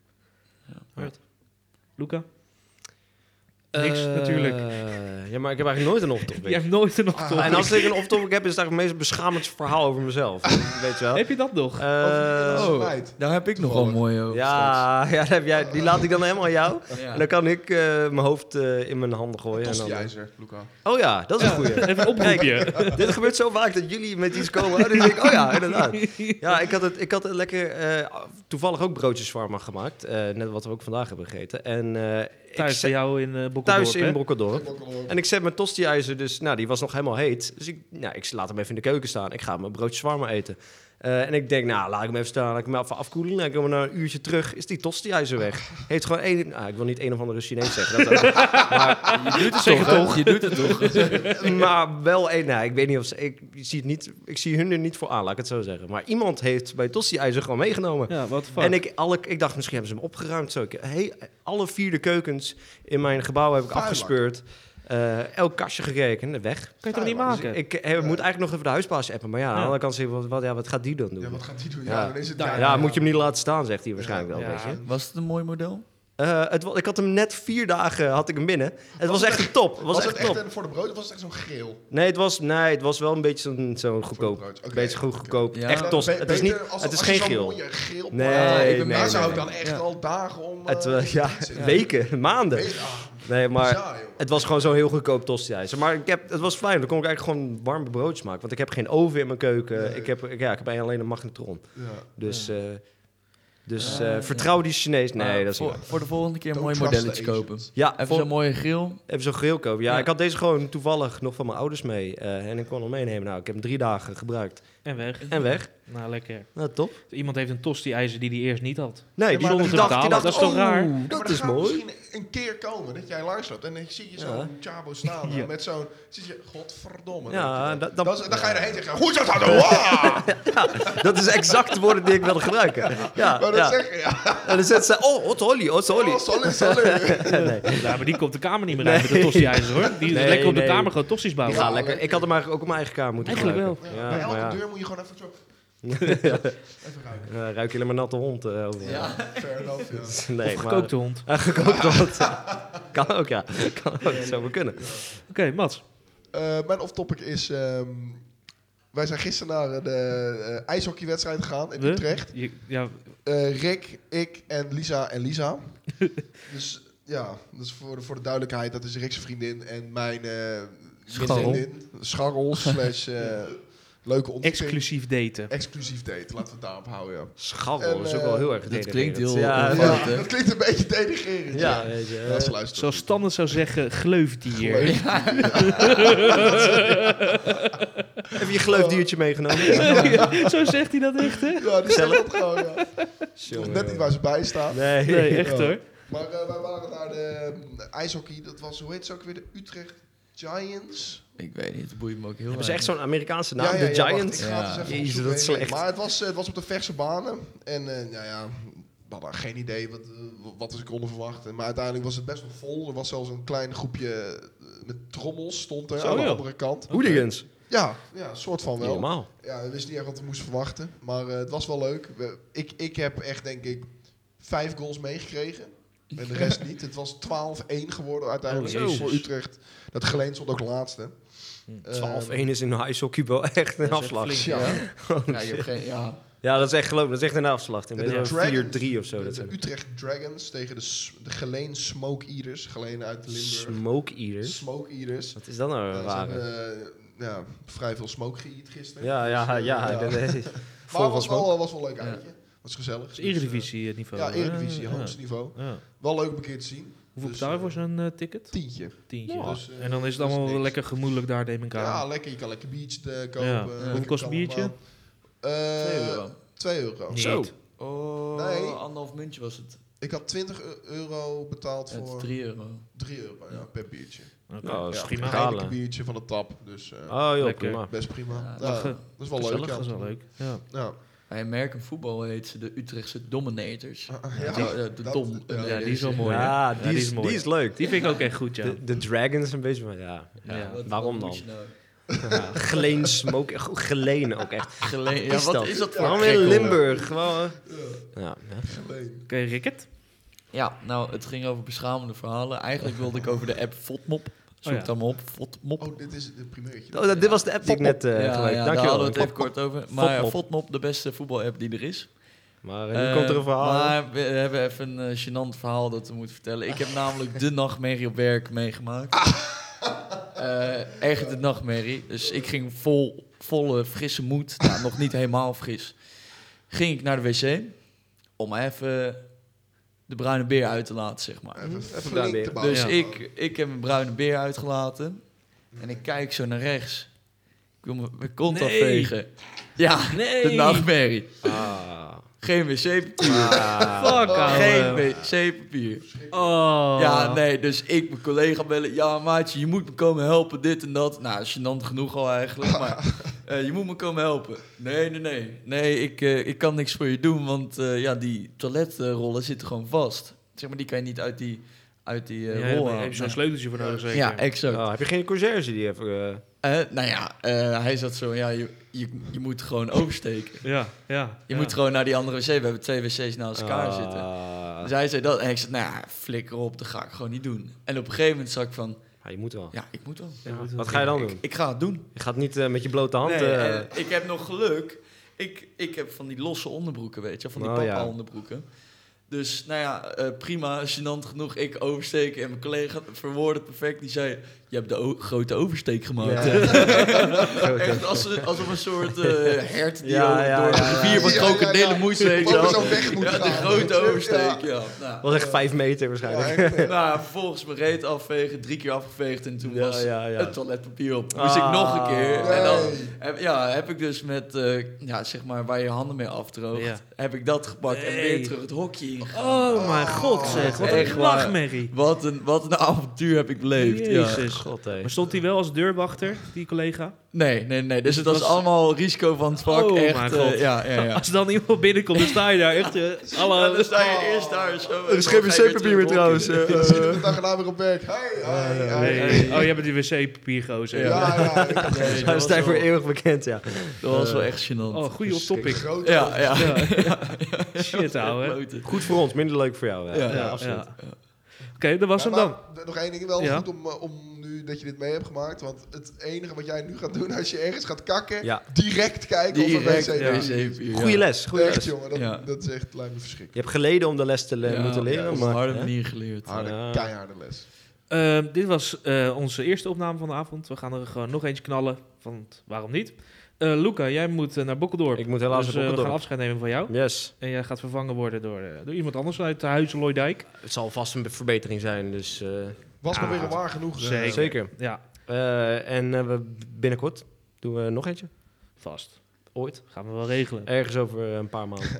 D: Ja.
A: Alright. Luca? Niks, natuurlijk.
C: Eh, Ja, maar ik heb eigenlijk nooit een
A: Jij
C: off-topic.
A: hebt nooit een off
C: Ah, en als ik een off-topic heb, is het eigenlijk het meest beschamend verhaal over mezelf. Weet je wel?
A: Heb je dat nog?
C: Eh,
B: Over kwijt.
D: Oh, Daar heb ik nog wel
B: Toevallig.
C: Oh,
D: mooi over.
C: ja, ja daar heb jij, die laat ik dan helemaal aan jou.
D: straks.
C: En
D: Ja.
C: dan kan ik eh, mijn hoofd eh, in mijn handen gooien. En
B: Tosti
C: dan,
B: ijzer, Luca.
C: oh ja, dat is een goeie.
A: Even een oproepje.
C: Dit gebeurt zo vaak dat jullie met iets komen. En dan denk ik, oh ja, inderdaad. Ja, ik had, het, ik had het lekker eh, toevallig ook broodjes warmer gemaakt. eh, net wat we ook vandaag hebben gegeten. En, eh, ik
A: Thuis bij
C: zet-
A: jou in eh Bokkeldorp,
C: thuis in
A: hè?
C: Bokkeldorp.
B: En
C: En ik zet mijn tosti-ijzer, dus nou, die was nog helemaal heet. Dus ik, nou, ik laat hem even in de keuken staan. Ik ga mijn broodje zwarmer eten. Eh, en ik denk, nou, laat ik hem even staan, laat ik hem even afkoelen. Dan komen we na een uurtje terug, is die tosti-ijzer weg. Heeft gewoon één... Nou, ik wil niet een of andere Chinees zeggen. Dat ook.
D: Je doet het toch, hè? Je doet het toch.
C: maar wel één... Nou, ik weet niet of ze... Ik zie, het niet, ik zie hun er niet voor aan, laat ik het zo zeggen. Maar iemand heeft bij tosti-ijzer gewoon meegenomen.
A: Ja, wat fuck.
C: En ik, alle, ik dacht, misschien hebben ze hem opgeruimd. Zo. Ik, hey, alle vier de keukens in mijn gebouw heb ik
B: Vuilak.
C: afgespeurd. Eh, elk kastje gekeken, weg.
A: kan je toch niet
B: Ja,
A: maken?
C: Ik eh, moet eigenlijk nog even de huisbaas appen. Maar ja, aan de
A: Ja.
C: andere kant zeg ik, wat, wat, ja, wat gaat die dan doen?
B: Ja,
C: Ja,
B: wat gaat die doen?
C: Ja. Nou,
B: Ja, dan is het
C: ja,
B: ja,
C: moet je hem niet laten staan, zegt hij waarschijnlijk wel.
A: Ja.
C: Weet je.
D: Was het een mooi model?
C: Eh, het, wa- ik had hem net vier dagen had ik hem binnen. Het was echt een top. Het was,
B: Was het
C: echt top.
B: echt een- voor de brood of was het echt zo'n geel?
C: Nee, het was, nee, het was wel een beetje zo'n zo'n goedkoop.
B: brood, oké.
C: Een beetje goed
B: Oké.
C: goedkoop.
D: Ja.
C: Echt tos. Het is, niet, het is geen geel.
B: Mooie, geel
C: Nee,
B: plaat-
C: nee,
B: ik ben
C: nee,
B: daar zou
C: nee,
B: ik dan
C: nee.
B: echt
D: Ja.
B: al dagen om.
C: Het,
B: eh,
C: eh, ja,
B: zitten.
C: weken, maanden.
B: Weet- ah,
C: Nee, maar
B: bizar, joh.
C: het was gewoon zo'n heel goedkoop tostiijzer. Maar ik heb, het was fijn, dan kon ik eigenlijk gewoon warme broodjes maken. Want ik heb geen oven in mijn keuken.
B: Nee.
C: Ik, heb, ik- ja, ik heb alleen een magnetron.
B: Ja.
C: Dus,
A: Ja.
C: eh, dus
D: Ah,
C: eh,
D: ja.
C: vertrouw die Chinees. Nee,
D: Maar
C: dat is niet
D: voor,
C: waar.
D: voor de volgende keer
B: Don't
D: mooie
B: trust
D: modelletjes
B: the
D: kopen.
B: Asians.
C: Ja,
D: Even
C: vol-
D: zo'n mooie grill.
C: even zo'n grill kopen. Ja,
D: Ja.
C: ik had deze gewoon toevallig nog van mijn ouders mee. eh, en ik kon hem meenemen. Nou, ik heb hem drie dagen gebruikt.
A: En weg.
C: En weg.
A: Nou, lekker.
C: Nou, top.
A: Iemand heeft een tosti-ijzer die hij eerst niet had.
C: Nee,
B: Ja,
C: die,
B: maar
C: die
B: dat-
C: dacht, die
A: dat
C: dacht,
A: is toch
C: oh,
A: raar?
B: Ja, maar
C: dat
B: er
C: is
B: gaat
C: mooi.
B: misschien een keer komen dat jij luistert en dan zie je zo'n Chabo staan
A: Ja.
B: met zo'n... Zie je, godverdomme.
C: Ja,
B: denk je
C: dat- dat-
B: Dan, dan ga je erheen zeggen, hoe is dat dan? Wow!
C: Dat is exact de woorden die ik wilde gebruiken. Ja,
B: Maar dat
C: ja.
B: zeggen, ja.
C: En dan zet ze, oh, wat holly, wat holly.
B: Oh, sorry, sorry.
C: Nee.
A: Ja, maar die komt de kamer niet meer
C: Nee.
A: uit met de tosti-ijzer, hoor. Die is
C: Nee,
A: lekker op de
C: nee.
A: kamer gewoon tosti's
C: Die
A: bouwen.
C: gaan lekker. Ik had hem eigenlijk ook op mijn eigen kamer moeten
A: Eigenlijk
C: gebruiken.
B: Ja,
C: Ja,
B: bij elke
C: maar ja.
B: deur moet je gewoon even zo... even ruiken.
C: Eh, ruik je helemaal natte hond eh, overal.
D: Ja.
B: Fair enough, ja.
C: Nee,
A: Of
C: maar-
A: gekookte hond.
C: Eh, gekookte hond. kan ook, ja. Kan ook, dat zou wel kunnen.
A: Oké, Mats.
B: Eh, mijn off-topic is... ehm, wij zijn gisteren naar eh, de eh, ijshockeywedstrijd gegaan in
A: We?
B: Utrecht.
A: Je, ja,
B: Eh, Rick, ik en Lisa en Lisa. dus Ja, dus voor de, voor de duidelijkheid, dat is Rick's vriendin en mijn eh,
D: Scharrel.
B: vriendin. Scharrel slash eh, leuke ontmoeting.
A: Exclusief daten.
B: Exclusief date, laten we het daarop houden, ja.
C: Scharrel
B: En,
C: is ook
B: eh,
C: wel heel erg
D: dit
C: denigrerend.
D: klinkt heel-
C: Ja,
D: heel-
C: ja.
B: ja dat klinkt een beetje denigrerend. Ja,
C: weet je.
B: ja. ze
C: eh,
B: luisteren.
A: Zoals Standard zou zeggen, gleufdier.
C: Even je gleufdiertje meegenomen.
A: Ja, Zo zegt hij dat echt, hè?
B: Ja, die zeggen dat gewoon, ja.
C: Jongen,
B: Net niet
C: jongen.
B: waar ze bij staan.
C: Nee.
A: Nee, echt
B: Ja.
A: hoor.
B: Maar eh, wij waren naar de eh, ijshockey. Dat was, hoe heet ze ook weer? De Utrecht Giants.
D: Ik weet niet, het boeit me ook heel
C: Hebben ze echt
D: weinig.
C: zo'n Amerikaanse naam? de
B: wacht,
C: Giant?
B: ik ga het
D: Ja.
B: eens even
C: Jezus,
B: opzoeken.
C: dat is slecht.
B: Maar het was, eh, het was op de verse banen. En eh, nou ja, we hadden geen idee wat, eh, wat we konden verwachten. Maar uiteindelijk was het best wel vol. Er was zelfs een klein groepje eh, met trommels stond er
A: Zo,
B: aan de
A: joh.
B: andere kant.
C: Hooligans.
B: Ja, ja, soort van
C: Niet
B: wel.
C: Normaal.
B: Ja, we wisten niet echt wat we moesten verwachten. Maar eh, het was wel leuk. We- ik, ik heb echt, denk ik, vijf goals meegekregen. En de rest niet. Het was 12-1 geworden uiteindelijk
C: Oh, jezus.
B: voor Utrecht. Dat Geleen stond ook laatste. Eh,
A: Hm.
C: 12-1 is in ijshockey wel echt een
A: echt
C: afslag.
A: flink.
B: Ja.
D: Ja. Ja, je hebt geen... Ja.
C: Ja, dat is echt geloof ik, Dat is echt een afslag. Ik
B: En
C: denk
B: de
C: dat
B: Dragons-
C: 4-3 of zo. Dat
B: de
C: zijn.
B: Utrecht Dragons tegen de, S- de Geleen Smoke Eaters. Geleen uit Limburg.
C: Smoke Eaters.
B: Smoke Eaters.
C: Wat is dat nou
B: Ja,
C: een
B: ze
C: rare?
B: hebben, eh, ja, vrij veel smoke geëat gisteren.
C: Ja, ja, ja. ik
B: Ja.
C: ben,
B: maar
C: eh, Vol
B: het
C: van
B: was
C: smoke.
B: wel, was wel een leuk
D: Ja.
B: uitje. Was gezellig.
A: Dat
B: Dus,
A: is eredivisie eh,
B: eh,
A: niveau.
B: ja,
A: hè?
B: Eredivisie,
A: Ja.
B: hoogste niveau.
A: Ja.
B: Wel leuk om een keer te zien.
A: Hoeveel
B: Dus,
A: betaal je
B: eh,
A: voor zo'n eh, ticket?
B: Tientje.
A: Tientje.
B: Ja.
A: Dus,
B: Dus, eh,
A: en dan is het
B: dat is
A: allemaal wel
B: niks.
A: lekker gemoedelijk daar, neem ik aan.
B: Ja, lekker. Je kan lekker biertje eh, kopen.
A: Ja.
B: lekker
A: Hoeveel kost een
B: kalm,
A: biertje?
B: eh,
D: 2 euro.
B: 2 euro.
A: Niet.
C: Zo.
D: Oh,
B: Nee.
D: anderhalf muntje was het.
B: Ik had 20 eu- euro betaald
D: Het is
B: voor
D: 3 euro.
B: 3 euro ja,
D: Ja.
B: per biertje.
A: Oké.
C: Nou, dat is
B: ja,
C: prima.
B: Een Heineken
C: Halen.
B: biertje van de tap. Dus eh,
C: Oh joh,
A: Lekker.
C: prima.
B: best prima.
D: Ja,
B: Ja,
A: lachen.
B: dat is wel
A: Ah. Gezellig,
B: leuk.
A: dat is
B: ja.
A: wel leuk. Ja.
B: Ja.
D: Bij American voetbal heet ze de Utrechtse Dominators.
B: Ja,
D: Die- eh, de
B: dat-
D: dom.
B: ja.
A: Ja, die is wel mooi. hè?
C: Ja, die, is,
A: mooi.
C: die is leuk.
A: Die vind ik ook echt goed, ja.
C: De, de Dragons een beetje, maar ja.
A: Ja,
D: wat-
C: waarom
D: wat
C: dan?
D: moet je nou?
C: Geleen smoke. Goh, Geleen ook echt.
D: Gele- ja,
C: Is
D: wat
C: dat?
D: is dat voor
C: Waarom
D: gek,
C: in
D: hoor?
C: Limburg? Gewoon, eh. Ja, ja.
B: Geleen.
A: Oké, Ricket.
D: Ja, nou, het ging over beschamende verhalen. Eigenlijk wilde ik over de app Fotmop. Zoek
A: Oh ja.
D: dat maar op, Fotmop.
B: Oh, dit is het primeurtje.
C: Oh, dat- dit was de app die ik net eh
D: ja,
C: gebruikte.
D: ja, daar
C: Dankjewel.
D: hadden we het even kort over. Maar
C: Fotmop.
D: Fotmop, de beste voetbalapp die er is.
C: Maar eh, nu
D: Eh,
C: komt er een verhaal.
D: Maar we hebben even een eh, gênant verhaal dat we moeten vertellen. Ik heb namelijk de nachtmerrie op werk meegemaakt.
C: Ah.
D: Eh, echt de nachtmerrie. Dus ik ging vol, volle frisse moed, nou, nog niet helemaal fris, ging ik naar de wc om even de bruine beer uit te laten, zeg maar.
B: Even,
C: Even
B: even
C: daar
B: flink
C: weer.
B: te bouwen.
D: Dus
A: ja.
D: ik, ik heb mijn bruine beer uitgelaten en ik kijk zo naar rechts. Ik wil mijn- mijn kont
A: Nee.
D: afvegen. Ja,
A: Nee.
D: de nachtmerrie.
C: Ah.
D: Geen wc-papier.
C: Ah.
A: Fuck, ouwe.
D: Geen wc-papier.
A: Oh.
D: Ja, nee, dus ik mijn collega bellen. Ja, maatje, je moet me komen helpen, dit en dat. Nou, gênant genoeg al eigenlijk, maar eh, je moet me komen helpen. Nee, nee, nee. Nee, ik, eh, ik kan niks voor je doen, want eh, ja, die toiletrollen zitten gewoon vast. Zeg maar, die kan je niet uit die, uit die eh
A: Ja,
D: rol
A: daar
D: halen.
A: heb je zo'n sleuteltje voor nodig, zeker?
D: Ja, exact.
C: Oh, heb je geen conciërge die even... eh,
D: Eh, nou ja, eh, hij zat zo, ja, je, je, je moet gewoon oversteken.
A: Ja, ja.
D: Je
A: ja.
D: moet gewoon naar die andere wc. We hebben twee wc's naast elkaar
C: ah.
D: zitten. Dus hij zei dat en ik zei, nou ja, flikker op, dat ga ik gewoon niet doen. En op een gegeven moment zag ik van,
C: Ja, je moet wel.
D: ja, ik moet wel.
A: Ja,
C: Wat ga je dan doen?
D: Ik ga het doen.
C: Je gaat niet eh, met je blote hand...
A: Nee,
C: eh,
D: En ik heb nog geluk, ik, ik heb van die losse onderbroeken, weet je, wel, van die
C: Oh, ja.
D: papa onderbroeken. Dus nou ja, eh, prima, gênant genoeg, ik oversteken. En mijn collega verwoordde het perfect, die zei, je hebt de o- grote oversteek gemaakt. Echt als, een- alsof een soort eh hert die
C: Ja, ja,
D: door de
C: ja, ja.
D: rivier van
B: Ja, ja, ja.
D: krokodillen moest, weet je
B: Ook
D: wel.
B: zo weg moet
D: Ja, de
B: gaan.
D: grote oversteek,
B: Ja.
D: ja. Nou.
C: was echt vijf meter waarschijnlijk.
B: Ja, echt.
D: Nou, vervolgens mijn reet afvegen, drie keer afgeveegd en toen was
C: ja, ja.
D: het toiletpapier op. Moest ik
C: Ah.
D: nog een keer. En dan
B: Nee.
D: heb, ja, heb ik dus met, eh, ja, zeg maar, waar je handen mee afdroogt,
A: Ja.
D: heb ik dat gepakt en
A: Nee.
D: weer terug het hokje in.
A: Oh mijn god zeg, wat
D: Echt
A: een
D: waar.
A: lachmerrie.
D: Wat een, wat een avontuur heb ik beleefd. Ja.
A: Jezus.
C: God, hé.
A: Maar stond hij wel als deurwachter, die collega?
D: Nee, nee, nee. Dus het
A: het
D: was
A: was-
D: allemaal risico van het vak.
A: Oh,
D: echt,
A: mijn
D: eh,
A: God.
D: ja, ja, ja.
A: Als er dan iemand binnenkomt, dan sta je daar echt... eh, alle-
D: Ja, dan sta je eerst daar zo.
C: Er is geen wc-papier meer trouwens.
B: Ik zit de dag erna weer op werk. Hey, hey, hey.
A: Nee, nee. Oh, jij bent die wc-papier gozer.
D: Ja.
B: Ja, ja. ik had
D: Nee,
C: Hij
D: dat
C: is
D: was
C: daarvoor
D: wel-
C: eeuwig bekend, ja.
D: Dat was wel echt gênant.
A: Oh, goede op
B: een
A: topic.
B: grote
D: Ja, ja.
A: Ja. Shit, ouwe. Ja,
D: Klote.
C: Goed voor ons, minder leuk voor jou. hè.
D: Ja,
A: ja,
C: absoluut.
A: Oké, dat was hem
B: Ja,
A: dan.
B: maar Nog één ding wel
A: Ja.
B: goed om, eh, om nu dat je dit mee hebt gemaakt. Want het enige wat jij nu gaat doen als je ergens gaat kakken,
C: Ja.
B: direct kijken of er
D: Direct
B: wc
A: ja.
B: is.
D: wc-papier,
C: Goeie
D: E ja.
C: les, goeie
B: Echt
C: les.
B: jongen, dat,
D: Ja.
B: dat is echt lijkt me verschrikkelijk.
C: Je hebt geleden om de les te le-
D: Ja,
C: moeten
D: ja,
C: leren,
D: op een
C: maar...
D: harde
C: hè?
D: manier geleerd.
B: Harde,
C: Ja.
B: keiharde les.
A: Ehm, dit was eh, onze eerste opname van de avond. We gaan er gewoon nog eentje knallen, want waarom niet? Eh, Luca, jij moet eh, naar Bokkeldorp.
C: Ik moet helaas
A: dus,
C: naar
A: eh, we gaan
C: Bokkeldorp.
A: afscheid nemen van jou.
C: Yes.
A: En jij gaat vervangen worden door, eh, door iemand anders uit de huizen Loydijk.
C: Het zal vast een verbetering zijn, dus eh,
B: Was
A: Ja.
B: maar weer een waar genoeg. eh.
A: Zeker.
C: zeker.
A: Ja,
C: Eh, en eh, we binnenkort doen we nog eentje.
A: vast.
C: Ooit.
A: Gaan we wel regelen.
C: Ergens over een paar maanden.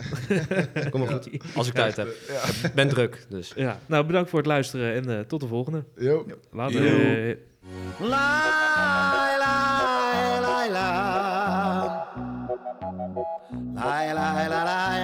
C: Kom maar goed. Als ik tijd
B: Echt,
C: heb.
B: eh, Ja.
C: Ik ben druk, dus.
A: Ja, nou bedankt voor het luisteren en eh, tot de volgende.
B: Yo.
A: Later.
D: Yo.
A: Eh,
F: Lai, lai, lai, la. Lai, lai, la, lai,